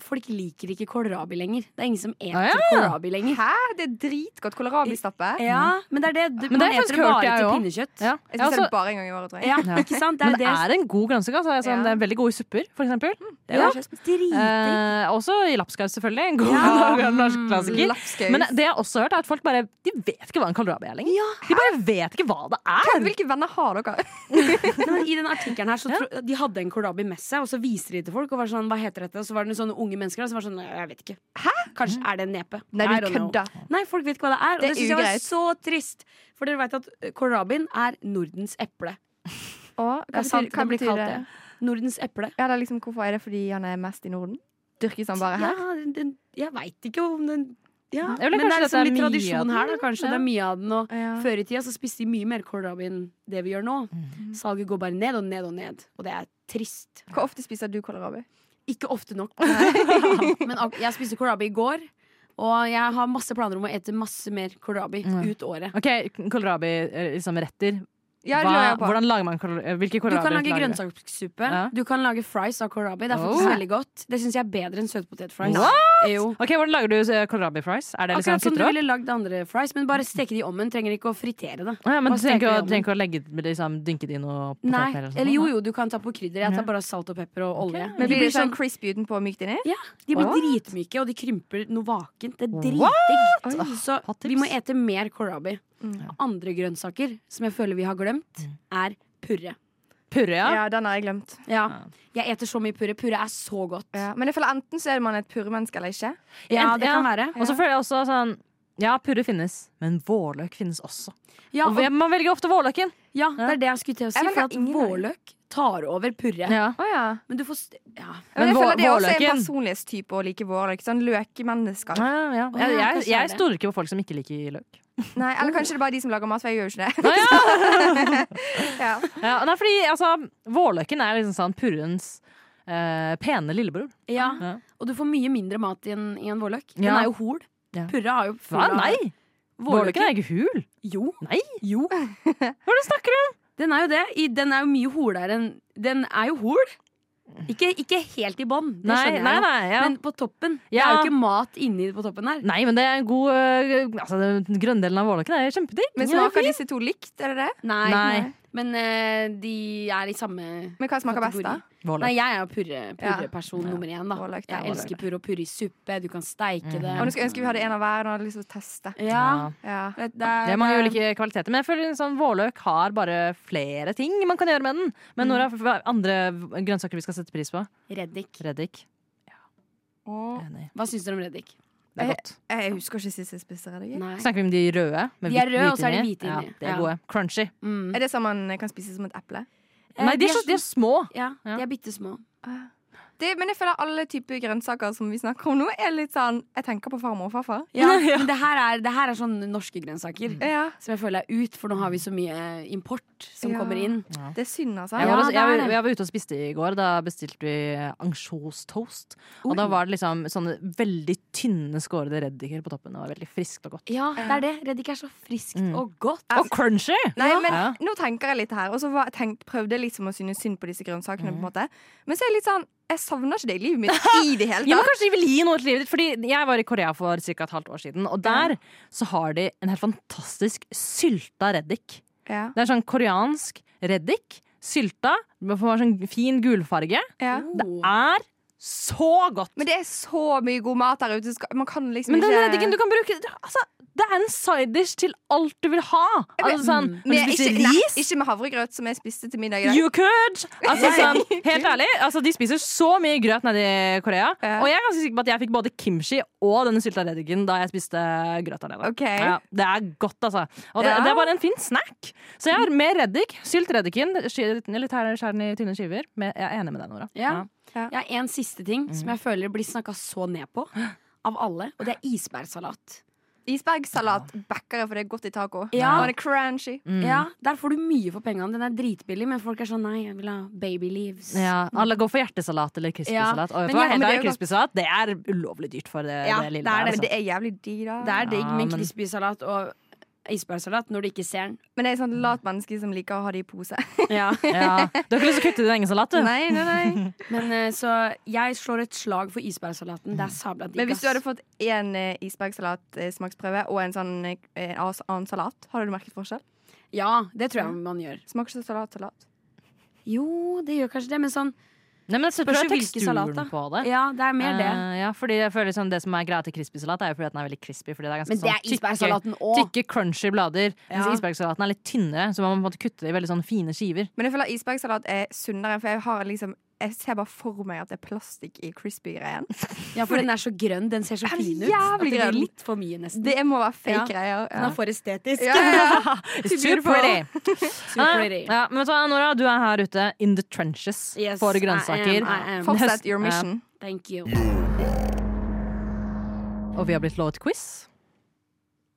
S3: folk liker ikke kålrabi lenger. Det er ingen som eter
S2: ja.
S3: kålrabi lenger.
S4: Hæ? Det er dritgodt kålrabistappe.
S3: Ja, men det er det. Du,
S2: Men det
S3: man
S2: har jeg
S3: eter
S2: faktisk
S3: det
S2: hørt,
S3: bare
S2: jeg
S3: til
S2: også.
S3: pinnekjøtt.
S2: Ja. Jeg
S4: Jeg spiser
S2: også-
S4: det bare en gang i året, tror jeg.
S3: Ja,
S2: Ja.
S3: ikke sant?
S2: [LAUGHS] Men
S3: Det
S2: det
S3: er
S2: er en god grønnsak. Altså. Jeg er Sånn,
S4: Ja.
S2: Det er veldig god i supper, for eksempel.
S4: Det er jo
S2: Ja.
S4: ikke-
S2: Eh, også i lapskaus, selvfølgelig. En god [LAUGHS] norsk klassiker.
S4: Lapskaus.
S2: Men det jeg også har hørt, er at folk bare De vet ikke hva en kålrabi er lenger. De bare vet ikke hva det er.
S4: Hva- Hvilke venner har dere?
S3: Nei, men I den artikkelen her så tro, De hadde en kålrabi med seg, og så viser de til folk. Og var sånn, hva heter dette? Og så var det noen sånne unge mennesker der som var sånn Jeg vet ikke. Kanskje
S2: Mm.
S3: er det en nepe.
S4: Nei,
S3: I
S4: du
S3: don't know.
S4: kødder.
S3: Nei, folk vet ikke hva det er. Og
S4: Det
S3: det,
S4: er
S3: synes jeg var
S4: ugreit.
S3: så trist. For dere vet at eh, kålrabien er Nordens eple.
S4: Å,
S3: Det
S4: Hva
S3: er sant,
S4: betyr, hva
S3: det blir
S4: betyr
S3: kalt
S4: det?
S3: det. Nordens eple.
S4: Ja, det er liksom, hvorfor er det fordi han er mest i Norden? Dyrkes han bare
S3: Ja,
S4: her?
S3: den, den, jeg veit ikke om den ja.
S2: Jeg vil
S3: Men det
S2: kanskje
S3: er
S2: at det er
S3: liksom litt
S2: mye av
S3: tradisjon
S2: den,
S3: her, da, kanskje.
S2: ja.
S3: Det er mye av den. Og
S4: Ja.
S3: før i tida så spiste de mye mer kålrabi enn det vi gjør nå.
S2: Mm.
S3: Salget går bare ned og ned og ned, og det er trist.
S4: Hvor ofte spiser du kålrabi?
S3: Ikke ofte nok. [LAUGHS] Men ak- jeg spiste kålrabi i går, og jeg har masse planer om å ete masse mer kålrabi ut året.
S2: Ok, Kålrabi-retter. Liksom, retter.
S4: Ja, det lurer
S2: hva,
S4: jeg på.
S2: hvordan lager man kålrabi? Hvilke
S3: Du
S2: kålrabier
S3: kan lage
S2: lager du?
S3: grønnsakssuppe.
S2: Ja.
S3: Du kan lage fries av kålrabi. Det er
S2: Oh.
S3: faktisk veldig godt. Det syns jeg er bedre enn søtpotetfries. Jo.
S2: Ok, Hvordan lager du eh, kålrabi-fries? Er det liksom
S3: Akkurat som altså, du
S2: krydder?
S3: ville lagd andre fries, men bare steke de i ovnen. Trenger ikke å fritere det.
S2: Ja, men du trenger ikke
S3: Bare
S2: å-
S3: steke det i
S2: trenger ikke å legge, liksom, dynke det sånn. i noe poteter?
S3: Nei,
S2: sånt,
S3: eller jo
S2: da?
S3: jo, du kan ta på krydder. Jeg tar bare salt og pepper og olje.
S4: Men
S3: de
S4: blir det sånn crispy utenpå og mykt inni?
S3: Ja, De blir
S2: What?
S3: dritmyke, og de krymper noe vakent. Det er
S2: What? Ah,
S3: dritdigg. Så
S2: hot tips. Mm.
S3: vi må ete mer kålrabi. Andre grønnsaker som jeg føler vi har glemt, er purre.
S2: Purre, ja.
S4: Ja, den har jeg glemt.
S3: Ja,
S2: Ah.
S3: Jeg eter så mye purre. Purre er så godt.
S4: Ja. Men jeg føler enten så er man et purremenneske eller ikke.
S3: Ja,
S2: Ent-
S3: det kan være.
S2: Og så føler jeg også sånn Ja, purre finnes, men vårløk finnes også.
S3: Ja,
S2: og
S3: og,
S2: hvem- man velger ofte vårløken.
S3: ja, det er det jeg skulle til å si.
S4: Jeg velger
S3: For at
S4: ingen av dem.
S3: vårløk tar over purre.
S4: Oh, ja.
S3: Men du får st ja.
S4: Men,
S2: Men
S4: jeg
S2: vår-
S4: føler det er også
S2: vårløken-
S4: en personlighetstype å like vårløk. Sånn løkemennesker.
S2: Ja, ja. Jeg,
S3: ja,
S2: jeg,
S3: kanskje
S2: jeg
S3: det.
S2: stoler ikke på folk som ikke liker løk.
S4: Nei, eller kanskje det er bare de som lager mat, for jeg gjør jo ikke det.
S2: Å,
S4: [LAUGHS]
S2: ja.
S4: Ja.
S2: Ja, nei, fordi altså, Vårløken er liksom sånn purrens eh, pene lillebror.
S3: Ja.
S2: Ah. Ja.
S3: Og du får mye mindre mat i en, i en vårløk. Den
S2: Ja.
S3: er jo hol.
S2: Ja.
S3: Purra har jo full
S2: Hva?
S3: av-
S2: Nei! Vårløken er ikke hul.
S3: Jo.
S2: Nei.
S3: jo.
S2: Hva er det du snakker om?
S3: Den er jo det. I, den er jo mye holere enn Den er jo hol. Ikke, ikke helt i bånn, det
S2: Nei,
S3: skjønner jeg
S2: nei,
S3: jo.
S2: nei, ja.
S3: Men på toppen. Det er
S2: Ja.
S3: jo ikke mat inni på toppen her.
S2: nei, men det er en god eh, altså, Den grønndelen av vårløken er kjempedigg.
S4: Men
S2: Ja,
S4: smaker disse to likt, er det det?
S3: Nei.
S2: Nei.
S3: Men eh, de er i samme
S4: Men hva smaker best, da?
S3: Kategori. Nei,
S2: vårløk.
S3: jeg er jo purre, purreperson
S4: Ja.
S3: nummer én, da.
S4: Vårløk, det er
S3: Jeg
S4: vårløk.
S3: elsker purre og purre i suppe. Du kan steike
S2: Mhm.
S3: det.
S4: Og nå skulle jeg ønske vi hadde en av hver. Nå hadde jeg lyst til å teste.
S3: Ja. eh,
S4: Ja.
S3: Det, det,
S2: Det er mange ulike kvaliteter, men jeg føler liksom vårløk har bare flere ting man kan gjøre med den. Men Nora,
S3: Mm.
S2: hva er andre grønnsaker vi skal sette pris på?
S3: Reddik.
S2: Reddik.
S4: Åh.
S2: Enig.
S3: Hva syns dere om reddik?
S2: Det
S3: eh,
S2: er godt.
S4: Eh, Jeg husker ikke sist jeg spiste reddik. jeg.
S3: Nei.
S2: Snakker vi om de røde? med
S3: De er
S2: hvit-
S3: røde, og så er det
S2: hvit
S3: hvit inni.
S2: Ja, de er
S3: Ja.
S2: gode. Crunchy.
S3: Mm.
S4: Er det sånn man kan spise som et eple?
S3: Eh,
S2: Nei, de er, så, de er små.
S3: Ja,
S2: Ja.
S3: de er bitte små.
S2: Ah.
S4: Det, men jeg føler alle typer grønnsaker som vi snakker om nå, er litt sånn Jeg tenker på farmor og farfar.
S3: Ja, men det her er, det her er sånn norske grønnsaker.
S2: Mm.
S4: Ja.
S3: Som jeg føler er ut, for nå har vi så mye eh, import som
S4: Ja.
S3: kommer inn.
S4: Det er synd, altså.
S2: Jeg var,
S3: Ja,
S2: også,
S3: det er
S2: jeg,
S3: det.
S2: var- jeg var ute og spiste i går. Da bestilte vi ansjostoast. Og
S3: Oi.
S2: da var det liksom sånne veldig tynne skårede reddiker på toppen. Det var veldig friskt og godt.
S3: Ja, det er det. Reddik er så friskt
S2: Mm.
S3: og godt.
S2: Og crunchy!
S4: Nei, men
S2: Ja.
S4: nå tenker jeg litt her. Og så var, tenk, prøvde jeg liksom å synes synd på disse grønnsakene. på
S2: Mm.
S4: en måte Men så er jeg litt sånn Jeg savner ikke det i
S2: [LAUGHS]
S4: livet mitt i det hele
S2: Ja, men
S4: tatt.
S2: kanskje de vil gi noe til livet ditt Fordi Jeg var i Korea for ca. et halvt år siden, og der så har de en helt fantastisk sylta reddik.
S4: Ja,
S2: Det er sånn koreansk reddik. Sylta. Man får sånn fin gulfarge.
S4: ja.
S2: Det er så godt!
S4: Men det er så mye god mat der ute. skal- Man kan liksom
S2: Men den
S4: ikke
S2: reddiken du kan bruke altså, Det er en side dish til alt du vil ha. Altså, sånn, når
S4: Men
S2: du
S4: ikke,
S2: spiser
S4: nei,
S2: ris
S4: ikke med havregrøt, som jeg spiste til middag i dag.
S2: You could! Altså, sånn, helt ærlig, altså, De spiser så mye grøt nede i Korea.
S4: Ja.
S2: Og jeg er ganske sikker på at jeg fikk både kimchi og denne sylta reddiken da jeg spiste grøt alene.
S4: Ok.
S2: Ja, det er godt, altså. Og det,
S4: Ja.
S2: det er bare en fin snack. Så jeg har mer reddik. Sylt reddiken. sky- Litt her skjær den i tynne skiver. Men jeg er enig med deg, Nora.
S3: Ja.
S4: Ja.
S3: Jeg har en siste ting
S2: Mm.
S3: som jeg føler blir snakka så ned på av alle, og det er isbærsalat.
S4: Isbergsalat backer jeg, for det er godt i taco.
S3: Ja.
S4: Og Mm. det er crunchy.
S2: Mm.
S3: Ja, Der får du mye for pengene. Den er dritbillig, men folk er sånn nei, jeg vil ha baby leaves.
S2: Ja, alle går for hjertesalat eller crispysalat.
S3: Ja,
S2: Og vet
S3: men
S2: du hva,
S3: ja,
S2: helt
S3: men det er
S2: ærlig,
S3: jo godt.
S2: crispysalat det er ulovlig dyrt for det,
S3: Ja,
S2: det lille
S3: det
S2: der.
S3: er det,
S4: Men
S2: Altså.
S4: det er jævlig digg, da.
S3: Det er digg
S2: Ja,
S3: med
S2: men-
S3: crispy-salat og isbærsalat når du ikke ser den.
S4: Men det er sånn lat menneske som liker å ha det i pose.
S3: Ja.
S2: [LAUGHS] Ja. Du har ikke lyst til å kutte din egen salat,
S4: [LAUGHS]
S2: du?
S4: nei, nei, [LAUGHS] nei.
S3: Men eh, så jeg slår et slag for isbærsalaten.
S2: Mm.
S3: Det er sabla digg.
S4: Men hvis du
S3: ass.
S4: hadde fått én isbergsalatsmaksprøve og en sånn eh, en annen salat, hadde du merket forskjell?
S3: Ja, det tror jeg man gjør.
S4: Smaker ikke salat salat?
S3: Jo, det gjør kanskje det, men sånn
S2: Nei, men jeg tror
S3: Spørs jo
S2: det er
S3: hvilken salat, da.
S2: teksturen på det.
S3: Ja, det er mer det.
S2: Eh, ja, fordi jeg føler liksom Det som er greia til crispysalat, er jo fordi at den er veldig crispy. Fordi det er ganske
S3: Men det er
S2: sånn
S3: isbærsalaten
S2: Tykke,
S3: òg.
S2: tykke crunchy blader.
S3: Ja.
S2: Mens isbergsalaten er litt tynnere, så man må på en måte kutte det i veldig sånn fine
S3: [LAUGHS]
S2: skiver.
S4: Men jeg føler isbergsalat er sunnere, for jeg har liksom jeg ser bare for meg at det er plastikk i crispy-greien.
S3: Ja, for den er så grønn. Den ser så
S4: Er den
S3: fin ut.
S4: jævlig
S3: At det blir
S4: grønn?
S3: litt for mye,
S4: [LAUGHS]
S3: nesten.
S4: Det må være fake
S3: Ja.
S4: greier.
S3: Den er for estetisk.
S4: Ja,
S3: [LAUGHS]
S4: ja, [LAUGHS] ja.
S2: It's too
S4: beautiful.
S2: pretty.
S3: Super pretty.
S2: Ah, Ja, men vet du hva, Nora, du er her ute in the trenches
S3: Yes,
S2: for
S3: I
S2: grønnsaker.
S3: am, I am.
S4: Fortsett your mission.
S3: Thank you.
S2: Og vi har blitt lovet quiz.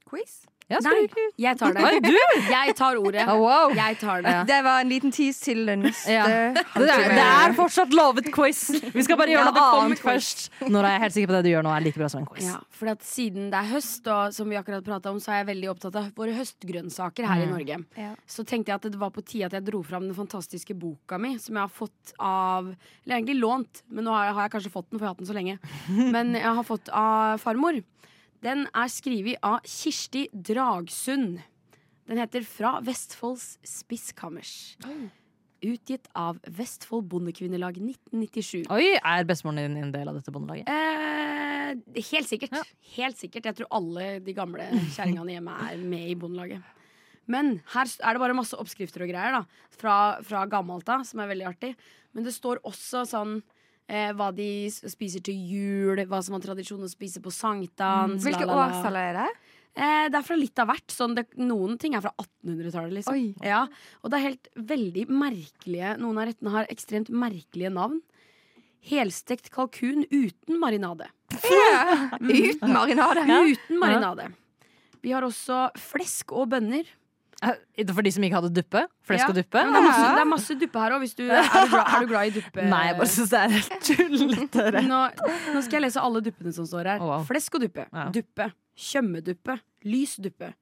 S4: Quiz?
S2: Ja, skal
S3: Nei,
S2: du ikke-
S3: jeg tar
S2: Oi,
S3: det.
S2: du!
S3: Jeg tar ordet.
S4: Oh, wow.
S3: Jeg tar det.
S4: Det var en liten tease til den neste [LAUGHS]
S2: Ja. Det er, det
S4: halvtime.
S2: er fortsatt lovet quiz! Vi skal bare
S3: Ja,
S2: gjøre
S3: det
S2: noe
S3: kommer
S2: annet først. Nora, jeg er helt sikker på at det du gjør nå, er like bra som en quiz.
S3: Ja, for at siden det er høst, og som vi akkurat pratet om, så er jeg veldig opptatt av våre høstgrønnsaker her i Norge.
S4: Ja.
S3: Så tenkte jeg at det var på tide at jeg dro fram den fantastiske boka mi, som jeg har fått av Eller egentlig lånt, men nå har jeg, har jeg kanskje fått den, for jeg har hatt den så lenge. Men jeg har fått av farmor. Den er skrevet av Kirsti Dragsund. Den heter Fra Vestfolds spisskammers. Utgitt av Vestfold Bondekvinnelag 1997.
S2: Oi, er bestemoren din en del av dette bondelaget?
S3: Eh, helt sikkert. Helt sikkert. Jeg tror alle de gamle kjerringene hjemme er med i Bondelaget. Men her s- er det bare masse oppskrifter og greier da fra, fra gammelt av, som er veldig artig. Men det står også sånn eh, hva de s- spiser til jul, hva som var tradisjon å spise på sankthans.
S4: Mm, Hvilke
S3: la, la, la.
S4: årstall er det?
S3: Eh, det er fra litt av hvert. Sånn, det, noen ting er fra 1800-tallet. Liksom.
S4: Oi.
S3: Ja, og det er helt veldig merkelige Noen av rettene har ekstremt merkelige navn. Helstekt kalkun uten marinade.
S2: Mm.
S4: Uten marinade.
S3: Uten marinade. Vi har også flesk og bønner.
S2: Eh, For de som ikke hadde duppe? For jeg skal
S3: Ja.
S2: duppe?
S3: Men det, er masse, det er masse duppe her òg. Er, du glad- er du glad i duppe?
S2: [LAUGHS] Nei, jeg bare syns det er helt tullete. det.
S3: nå, nå skal jeg lese alle duppene som står
S2: Å,
S3: her.
S2: wow.
S3: Flesk og duppe.
S2: Ja.
S3: Duppe. Tjømmeduppe. Lys duppe.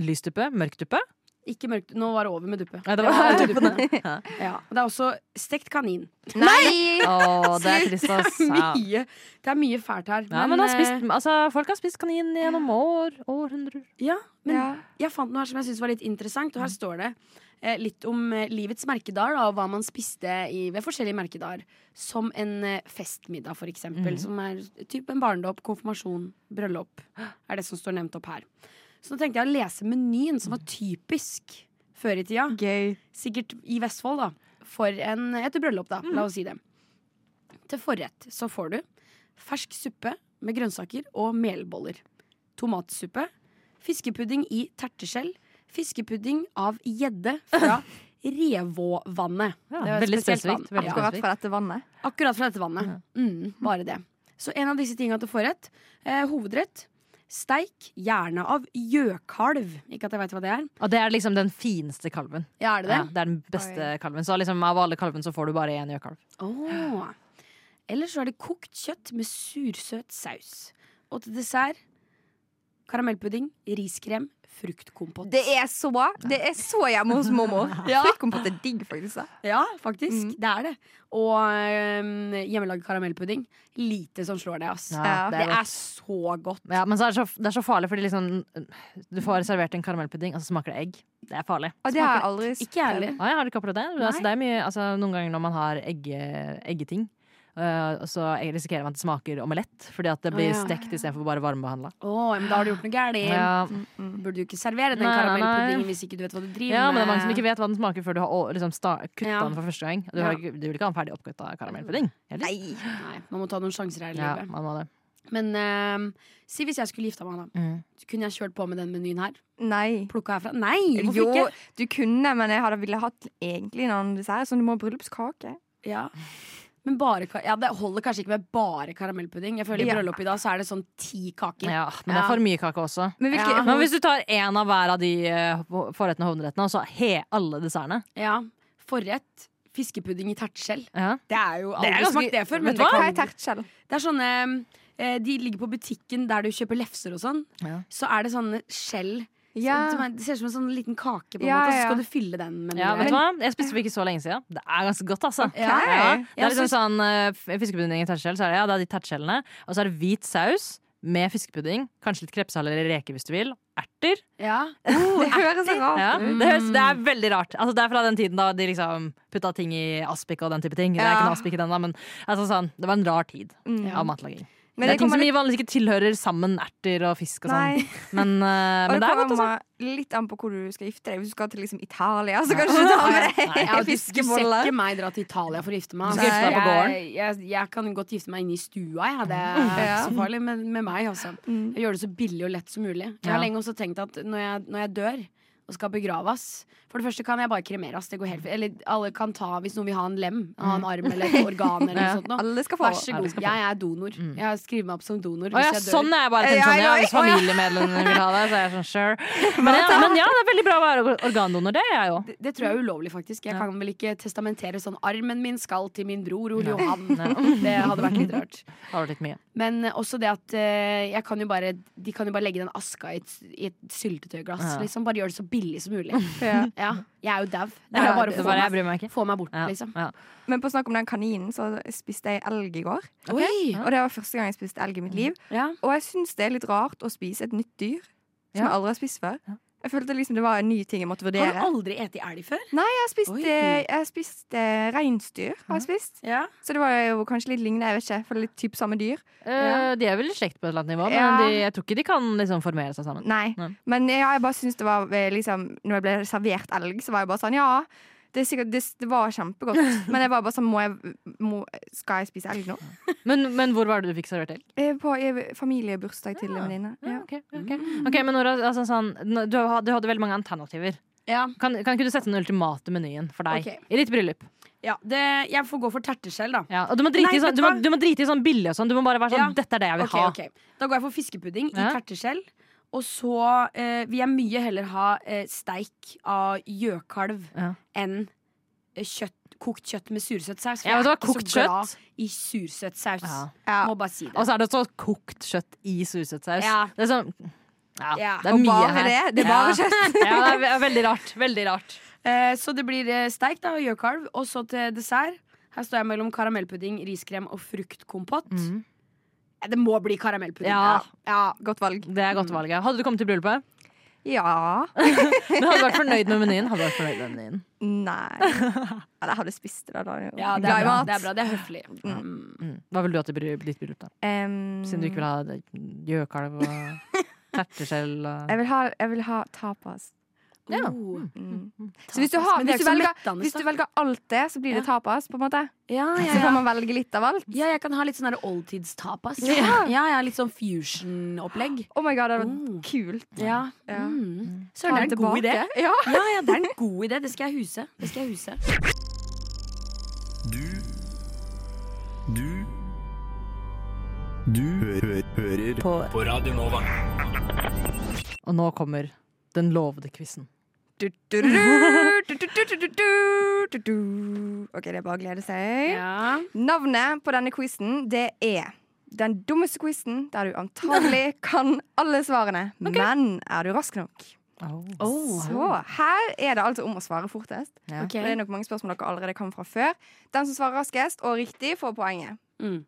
S2: Lys duppe? Mørk duppe?
S3: Ikke mørkt. Nå var det over med duppe.
S2: Nei, det
S3: Det
S2: [LAUGHS]
S3: var
S2: var
S3: alle
S2: duppene.
S3: duppene.
S2: Ja.
S3: Ja. Det er også stekt kanin.
S4: Nei!
S2: Å, det er trist,
S3: [LAUGHS]
S2: ass.
S3: Det er
S2: Ja.
S3: mye, det er mye fælt her.
S2: Ja, men, har spist, altså, folk har spist kanin gjennom år, århundrer.
S3: eh, ja, men
S4: Ja.
S3: jeg fant noe her som jeg syntes var litt interessant, og her står det eh, litt om eh, livets merkedager da, og hva man spiste i, ved forskjellige merkedager. Som en eh, festmiddag, for eksempel. Som er typ en barndåp, konfirmasjon, bryllup. Er det som står nevnt opp her. Så nå tenkte jeg å lese menyen som var typisk før i tida.
S4: Gøy.
S3: sikkert i Vestfold, da, for en, et bryllup, da. La oss si det. Til forrett så får du fersk suppe med grønnsaker og melboller. Tomatsuppe. Fiskepudding i terteskjell. Fiskepudding av gjedde fra Revåvannet.
S2: Ja,
S3: Det er et
S2: veldig
S3: spesielt vann.
S2: spesifikt. Veldig
S3: Ja.
S4: Akkurat fra dette vannet.
S3: Akkurat fra dette vannet. Mm, bare det. Så en av disse tinga til forrett. Eh, hovedrett. Steik, gjerne av gjøkalv. Ikke at jeg veit hva det er.
S2: Og det er liksom den fineste kalven.
S3: Ja, er det det?
S2: Ja, det er den beste kalven. Så liksom, av alle kalven så får du bare én gjøkalv.
S3: Åh. Eller så er det kokt kjøtt med sursøt saus. Og til dessert karamellpudding, riskrem, fruktkompott.
S4: Det er så bra. Det er så hjemme hos mormor.
S3: Ja.
S4: Fruktkompott er digg, faktisk. da.
S3: Ja, faktisk.
S2: Mhm.
S3: Det er det. Og øhm, hjemmelagd karamellpudding. Lite som slår det, ass.
S4: Ja,
S3: Det er
S2: godt.
S3: så godt.
S2: ja, men så er det, så, det er så farlig, fordi liksom Du får servert en karamellpudding, og så smaker det egg. Det er farlig.
S4: Og det har jeg aldri
S3: Ikke jeg heller.
S2: Å, ja, har du ikke prøvd det? Altså,
S3: Nei.
S2: det er mye, altså, noen ganger når man har egge, eggeting, øh, så risikerer man at det smaker omelett. Fordi at det
S3: Å,
S2: blir
S3: ja.
S2: stekt istedenfor bare varmebehandla.
S3: Åh, men da har du gjort noe gærent.
S2: Ja.
S3: Burde du ikke servere den
S2: Nei, nei, nei.
S3: karamellpuddingen hvis ikke du vet hva du driver
S2: ja, men det
S3: med?
S2: er mange som ikke vet hva den smaker før du har å, liksom, sta- kutta
S3: Ja.
S2: den for første gang. Du, har, ikke- du vil ikke ha en ferdig oppkutta karamellpudding? eller?
S4: Nei.
S3: Nei, man må ta noen sjanser her i
S2: Ja,
S3: livet.
S2: man må det.
S3: Men øhm, si hvis jeg skulle gifta meg, da.
S2: Mm.
S3: Kunne jeg kjørt på med den menyen her?
S4: Nei.
S3: Plukka herfra? Nei! Hvorfor
S4: Jo,
S3: ikke?
S4: du kunne, men jeg hadde ville hatt egentlig en annen dessert. Sånn, du må ha bryllupskake.
S3: Ja. Men bare, ka- ja, det holder kanskje ikke med bare karamellpudding. Jeg føler I
S4: Ja.
S3: bryllup i dag så er det sånn ti kaker.
S2: Ja, men det er for mye kake også.
S4: Men hvilke
S3: Ja.
S2: Men hvis du tar én av hver av de eh, forrettene og hovedrettene, og så he alle dessertene
S3: Ja. Forrett fiskepudding i terteskjell.
S2: ja.
S3: Det er jo aldri
S2: er ganske-
S3: smakt det før.
S2: Vet
S3: Men
S2: du
S3: det,
S4: Hva er
S3: kan,
S4: tertskjell?
S3: det er sånne eh, De ligger på butikken der du kjøper lefser og sånn.
S2: Ja.
S3: Så er det sånne skjell.
S4: Ja.
S3: Som er, det ser ut som en sånn liten kake, på en
S4: Ja,
S3: måte, og så
S4: ja.
S3: skal du fylle den med noe.
S2: Ja, vet du hva? Jeg spiste for ikke så lenge siden. Det er ganske godt, altså.
S3: Ja.
S2: Ja. Det
S3: Ja,
S2: er liksom
S3: så-
S2: sånn eh, f- Fiskepudding i tertskjell, så er det, ja, det er de tertskjellene. Og så er det hvit saus med fiskepudding. Kanskje litt krepsehaler eller reker hvis du vil. Erter.
S3: Ja.
S4: Det høres så rart
S2: Ja.
S4: ut.
S2: Det, høres, det er veldig rart. Altså, det er fra den tiden da de liksom putta ting i aspik og den type ting. Det er
S4: Ja.
S2: ikke noe aspik i den, da, men altså, sånn, det var en rar tid av matlaging.
S4: Mm. Men
S2: det
S4: det
S2: er ting
S4: kommer
S2: som
S4: litt-
S2: vi vanligvis ikke tilhører sammen, erter og fisk og
S4: Nei.
S2: sånn. Men, eh,
S4: Og
S2: men
S4: det
S2: det er godt,
S4: kommer
S2: altså.
S4: litt an på hvor du skal gifte deg. Hvis du skal til liksom Italia, så kan du ikke ta
S3: [LAUGHS]
S4: med
S3: Ja,
S4: deg
S3: du, du ser
S4: fiskeboller.
S3: ikke meg dra til Italia for å gifte meg.
S2: Du skal
S3: altså.
S2: gifte deg på
S3: jeg, jeg, jeg kan godt gifte meg inne i stua, jeg. Det er ikke
S4: Ja.
S3: så farlig med, med meg, altså. Jeg gjør det så billig og lett som mulig. Jeg har
S2: Ja.
S3: lenge også tenkt at når jeg, når jeg dør og skal begraves For det første kan jeg bare kremeres. Det går helt fint. Eller alle kan ta, hvis noen vil ha en lem, ha en arm eller et organ eller [LAUGHS] noe sånt noe.
S4: Alle skal få.
S3: Vær så
S2: Alle
S3: god.
S2: skal få.
S3: Jeg er donor.
S2: Mm.
S3: Jeg skriver meg opp som donor
S2: Å
S3: hvis
S2: ja,
S3: jeg dør.
S2: sånn er jeg bare tenkt
S4: Ja,
S2: sånn, ja,
S4: ja,
S2: Hvis
S4: ja.
S2: familiemedlemmene vil ha det, så er jeg sånn sure. Men ja, men ja det er veldig bra å være org- organdonor. Det er jeg jo.
S3: Det, det tror jeg er ulovlig, faktisk. Jeg kan vel ikke testamentere sånn armen min skal til min bror Ole
S2: Nei.
S3: Johan.
S2: Nei.
S3: Det hadde vært litt rart.
S2: Det har vært litt mye.
S3: Men også det at eh, jeg kan jo bare, de kan jo bare legge den aska i et, i et syltetøyglass.
S2: Ja.
S3: Liksom. Bare gjør det så billig som [LAUGHS] mulig.
S4: Ja.
S3: Ja, jeg er jo dau.
S2: Ja,
S3: Det er jo bare
S2: det
S3: å
S2: er
S3: få
S2: bare jeg
S3: meg,
S2: bryr meg ikke.
S3: få meg bort,
S2: Ja,
S3: liksom.
S2: ja.
S4: [LAUGHS] Men på snakk om den kaninen, så spiste jeg elg i går.
S3: Oi!
S4: Og det var første gang jeg spiste elg i mitt liv.
S3: Ja.
S4: Og jeg syns det er litt rart å spise et nytt dyr som
S2: Ja.
S4: jeg aldri har spist før. Jeg følte liksom det var en ny ting jeg måtte
S3: Har du
S4: vurdere.
S3: aldri spist elg før?
S4: Nei, jeg har spist,
S3: Oi.
S4: eh, jeg har spist eh, reinsdyr. Har jeg spist.
S3: Ja.
S4: Så det var jo kanskje litt lignende. Jeg vet ikke, jeg føler litt typ samme dyr.
S2: Eh, de er vel i slekt på et eller annet nivå, men
S4: Ja.
S2: de, jeg tror ikke de kan liksom formere seg sammen.
S4: Nei.
S2: Nei.
S4: Men ja, jeg bare syns det var eh, liksom Når jeg ble servert elg, så var jeg bare sånn Ja, det, er sikkert, det, det var
S3: [LAUGHS]
S4: kjempegodt. Men jeg var bare sånn må jeg, må, Skal jeg spise elg nå?
S2: Men, men hvor var det du fikk servert elg?
S4: Eh, På eh, familiebursdag til en venninne.
S2: Ja,
S4: Ja.
S2: ok, ok. Ok, men Nora, altså, sånn, nå- du, hadde, du hadde veldig mange alternativer.
S3: Ja.
S2: Kan, kan ikke du sette den ultimate menyen for deg
S3: Ok.
S2: i ditt bryllup?
S3: ja det, jeg får gå for terteskjell, da.
S2: Ja, og du må drite,
S3: Nei,
S2: i, sånn,
S3: vet
S2: du
S3: du
S2: må,
S3: hva?
S2: du må drite i sånn billig og sånn. Du må bare være sånn
S3: Ja.
S2: Dette er det jeg vil
S3: Ok,
S2: ha.
S3: ok. Da går jeg for fiskepudding
S2: Ja.
S3: i terteskjell Og så eh, vil jeg mye heller ha eh, steik av gjøkalv
S2: Ja.
S3: enn eh, kjøtt, kokt kjøtt med sursøtsaus.
S2: Ja, vet du hva,
S3: ikke
S2: kokt
S3: så glad
S2: kjøtt?
S3: i sursøtsaus.
S4: Ja.
S3: Må bare si det.
S2: Og så er det også kokt kjøtt i sursøtsaus.
S3: Ja.
S2: Det er sånn ja,
S3: Ja.
S2: det er
S4: Og
S2: mye
S4: bare
S2: her.
S4: det? Det er bare
S2: ja. kjøtt? [LAUGHS] ja, det er ve- veldig rart. Veldig rart.
S3: Eh, så det blir eh, steik da, og gjøkalv. Og så til dessert. Her står jeg mellom karamellpudding, riskrem og fruktkompott.
S2: Mm.
S3: Eh, Det må bli karamellpudding.
S2: Ja.
S3: Ja.
S4: Godt valg.
S2: Det er godt valg. ja. Hadde du kommet til bryllupet?
S4: Ja.
S2: Du hadde vært fornøyd med menyen. Hadde du vært fornøyd med menyen.
S3: [LAUGHS]
S4: Nei. Eller jeg hadde spist det, da. da. er jeg jo
S3: Ja, det,
S4: glad
S3: er
S4: i
S3: bra.
S4: mat.
S3: det er bra. Det er høflig. Mm.
S2: Mm. Hva vil du ha til bry- ditt bryllup, da?
S4: Em,
S2: Siden du ikke vil ha det- gjøkalv
S3: [LAUGHS]
S2: og terteskjell og
S4: jeg vil ha, jeg vil ha tapas.
S2: Ja.
S3: Oh.
S4: Mm.
S3: Tapas.
S4: Så hvis du, har,
S3: Men det er
S4: hvis, du
S3: ikke så
S4: velger,
S3: mettende,
S4: hvis du
S3: da.
S4: velger alt det, så blir det tapas, på en måte?
S3: ja,
S4: Så
S3: ja,
S4: kan
S3: ja.
S4: man velge litt av alt?
S3: ja, jeg kan ha litt sånn der oldtidstapas.
S4: Ja.
S3: Ja, ja, litt sånn fusion-opplegg.
S4: Oh my god, det hadde
S3: Oh.
S4: vært kult.
S3: Ja.
S4: Ja.
S3: Mm.
S4: Ta
S3: Søren, det er
S4: den
S3: en god idé.
S4: tilbake. Ja.
S3: Ja, ja, det er en god idé. Det skal jeg huse. Det skal jeg huse.
S5: Du Du Du hø hø hører på, på Radio Nova.
S2: Og nå kommer den lovede quizen.
S4: Du, du, du, du, du, du, du, du, du, du. OK, det er bare å glede seg.
S3: Ja.
S4: Navnet på denne quizen, det er den dummeste quizen der du
S2: [LAUGHS]
S4: antagelig kan alle svarene. Men er du rask nok? Så her er det altså om å svare fortest.
S2: Ja.
S3: Ok.
S4: Og Det er nok mange spørsmål dere allerede kan fra før. Den som svarer raskest og riktig, får poenget.
S3: Mm.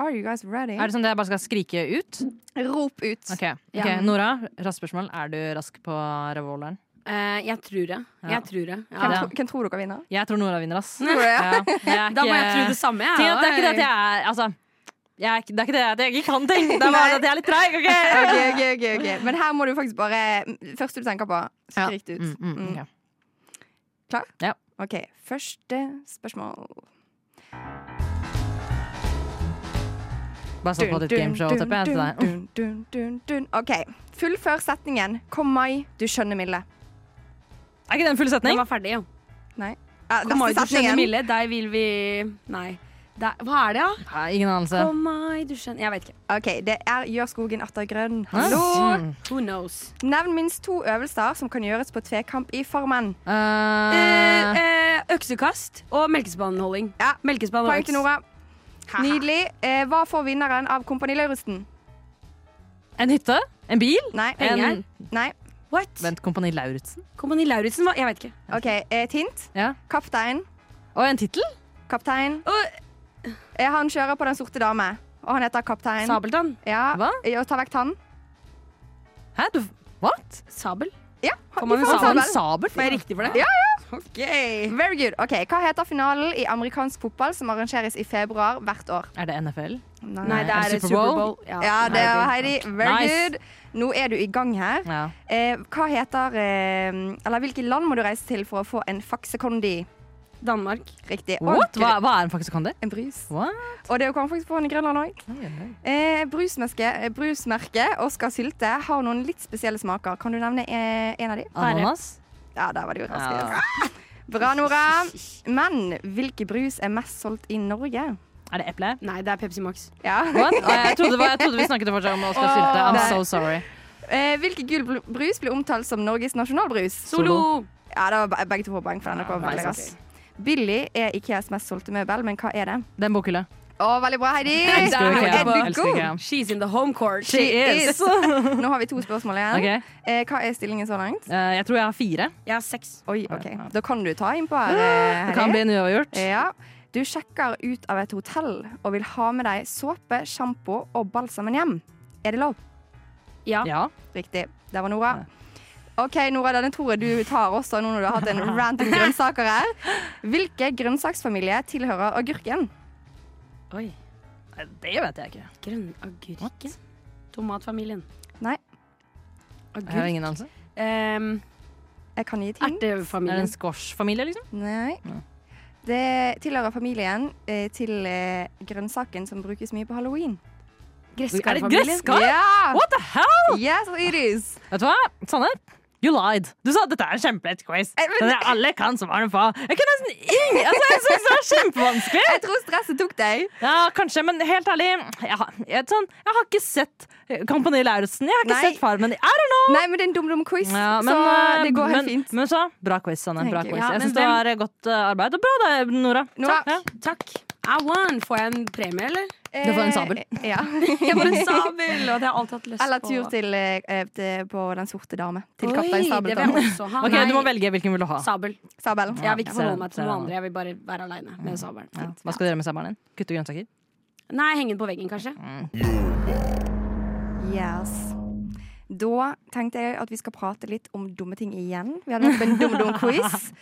S4: Are you guys ready?
S2: Er det sånn at jeg bare skal skrike ut?
S4: Rop ut.
S2: Ok, ok. Nora, raskt spørsmål. Er du rask på revolveren?
S3: Eh, jeg tror det.
S2: Ja.
S3: Jeg tror det. Ja.
S4: Hvem,
S2: Ja.
S4: tro, hvem tror dere vinner?
S2: Jeg tror Nora vinner,
S3: [LAUGHS]
S2: ass.
S4: Tror dere?
S2: [LAUGHS] Ja, jeg er
S3: Da må jeg
S2: ikke-
S3: tro det samme. jeg,
S2: Ting at Det er ikke det at
S3: da.
S2: jeg er Altså, jeg er ikke, det er ikke det at jeg ikke kan ting. Det er bare
S4: Nei.
S2: at jeg er litt treig. ok?
S3: [LAUGHS]
S4: Ok, ok, ok, ok. Men her må du faktisk bare mm, Første du tenker på, skrik det ut.
S2: Mm, mm,
S4: Mm.
S2: ok.
S4: Klar?
S2: Ja.
S4: OK. Første spørsmål.
S2: Bare sånn på ditt gameshow. typ, jeg, til deg. Mm.
S4: dun, dun, dun, dun. OK. Fullfør setningen 'Kom mai, du skjønner Mille'.
S2: Er ikke det en full
S3: Den
S2: setning?
S3: var ferdig, jo.
S4: Nei. Eh,
S3: Kom mai,
S4: neste
S3: du skjønner
S4: setningen.
S3: Mille, deg vil vi Nei. Deg- Hva er det, da?
S2: Nei, ingen anelse.
S3: Kom mai, du skjønner Jeg vet ikke.
S4: OK. Det er 'Gjør skogen atter grønn'.
S2: Hæ?
S4: Hallo.
S2: Mm.
S3: Who knows?
S4: Nevn minst to øvelser som kan gjøres på tvekamp i Farmen.
S2: Eh,
S3: Eh, eh, øksekast og melkespannholding.
S4: Ja.
S3: Melkespann og
S4: Poeng
S3: øks.
S4: til Nora. Nydelig. Eh, hva får vinneren av Kompani Lauritzen?
S3: eh.
S2: en hytte? En bil?
S4: Nei.
S2: En,
S4: Nei.
S3: What?
S2: vent, Kompani Lauritzen?
S3: Kompani Lauritzen var Jeg vet ikke.
S4: OK, et hint.
S2: Ja.
S4: Kaptein.
S2: Og en tittel?
S4: Kaptein.
S3: Å,
S4: Eh, Han kjører på Den sorte dame, og han heter Kaptein.
S3: Sabeltann.
S4: Ja.
S2: Hva?
S4: Eh, Og ta vekk tann.
S2: Hæ? Du, what?
S3: Sabel?
S4: Ja,
S3: Kom
S4: vi
S3: an, vi
S4: får
S3: sa
S4: sabel.
S2: en sabel?
S3: Får jeg riktig for det?
S4: Ja,
S3: Ok.
S4: Very good. Ok, Hva heter finalen i amerikansk fotball som arrangeres i februar hvert år?
S2: Er det NFL?
S3: Nei, det er
S2: Superbowl?
S3: Superbowl.
S4: Ja, det var
S3: Nei,
S4: Heidi. Very
S2: Nice.
S4: good. Nå er du i gang her.
S2: Ja.
S4: Eh, hva heter eh, Eller hvilke land må du reise til for å få en faksekondi?
S3: Danmark.
S4: Riktig. Og
S2: What?
S4: du-
S2: Hva, hva er en faksikandi?
S4: En brus.
S2: What?
S4: Og det kan man faktisk få den i Grønland òg. Eh, brusmerke, eh, brusmerket Oscar Sylte har noen litt spesielle smaker. Kan du nevne eh, en av de?
S2: Ananas?
S4: Ja, der var det jo raskest.
S2: Ja.
S4: Bra, Nora. Men hvilke brus er mest solgt i Norge?
S2: Er det eple?
S3: Nei, det er Pepsi Max.
S4: Ja.
S2: What? Å, jeg, trodde, det var- jeg trodde vi snakket fortsatt om Oskar Sylte. I'm
S4: Nei.
S2: so sorry.
S4: Eh, Hvilken gul bl- brus blir omtalt som Norges nasjonalbrus?
S3: Solo.
S4: Ja, det var be- Begge to får poeng for denne.
S2: Ja,
S4: Ja,
S2: nice,
S4: veldig rask. Billy er IKEAs mest solgte møbel, men hva er det?
S2: Det er en bokhylle.
S4: Å, veldig bra, Heidi!
S2: Elsker
S4: Nå
S3: Der
S2: IKEA.
S4: er du
S2: Elsker
S4: god.
S2: IKEA.
S3: She's in the home court.
S4: She
S2: She [LAUGHS]
S4: is. Nå har vi to spørsmål igjen.
S2: Ok,
S4: Eh, hva er stillingen så langt?
S2: eh, Jeg tror jeg har fire.
S3: Jeg har seks.
S4: Oi, ok. Da kan du ta innpå her, eh, Heidi.
S2: Det kan bli en uavgjort.
S4: Ja. Du sjekker ut av et hotell og vil ha med deg såpe, sjampo og balsamen hjem. Er det lov?
S3: Ja.
S2: Ja.
S4: Riktig. Der var Nora. Ok, Nora, Denne tror jeg du tar også nå når du har hatt en
S2: [LAUGHS]
S4: rant om grønnsaker her. Hvilke grønnsaksfamilie tilhører agurken?
S2: Oi. Nei, Det vet jeg ikke.
S3: Grønn agurken. Tomatfamilien.
S4: Nei.
S2: Jeg har
S3: Agurk.
S2: ingen anelse.
S3: Ehm,
S4: Jeg kan gi et hint.
S2: Er det en
S3: Ertefamilien.
S2: squash-familie, liksom?
S4: Nei. Det tilhører familien eh, til eh, grønnsaken som brukes mye på halloween.
S2: Er det
S3: Gresskarfamilien.
S2: gresskar?
S4: Ja!
S2: What the hell?
S4: Yes, it is.
S2: Vet du hva? Sanner, You lied. Du sa at dette er en kjempelett quiz.
S4: Eh, men-
S2: Det er alle kan svare på. Jeg kunne nesten ingen altså, Jeg synes det var kjempevanskelig.
S4: Jeg tror stresset tok deg.
S2: Ja, kanskje, men helt ærlig, jeg har, jeg, sånn, jeg har ikke sett Kompani Lauritzen. Jeg har ikke
S4: Nei.
S2: sett Farmen. I don't know!
S4: Nei, men det er en dum-dum quiz,
S2: Ja, men, eh,
S4: så eh, det går
S2: men,
S4: helt fint.
S2: Men så, bra quiz, Sanne. Bra
S4: Thank you.
S2: quiz.
S3: Ja,
S2: jeg
S3: men
S2: syns det
S3: hvem-
S2: var eh, godt eh, arbeid. Og bra det, Nora.
S4: Nora.
S2: Ja.
S3: Takk. I won. Får jeg en premie, eller?
S4: Det
S2: var en sabel.
S4: Eh, Ja.
S3: [LAUGHS]
S4: [LAUGHS]
S3: Jeg
S2: [LAUGHS]
S3: får en sabel, og det har jeg alltid hatt lyst
S4: Eller
S3: på.
S4: tur til, eh, til på Den sorte dame. Til
S3: Oi,
S4: Kaptein
S3: Det vil
S4: Sabeltann.
S3: jeg også ha.
S2: [LAUGHS] Ok,
S3: Nei,
S2: Du må velge hvilken vil du ha.
S3: Sabel.
S4: Sabel.
S3: Jeg vil ikke
S2: ser
S3: forholde
S2: den,
S3: meg
S2: ser
S3: til noen
S2: den.
S3: andre. Jeg vil bare være aleine med sabelen.
S2: Ja. Hva skal du gjøre med sabelen din? Kutte grønnsaker?
S3: Nei, henge den på veggen, kanskje.
S4: Yes. Da tenkte jeg at vi skal prate litt om dumme ting igjen. Vi hadde vært på en [LAUGHS] dum-dum-quiz.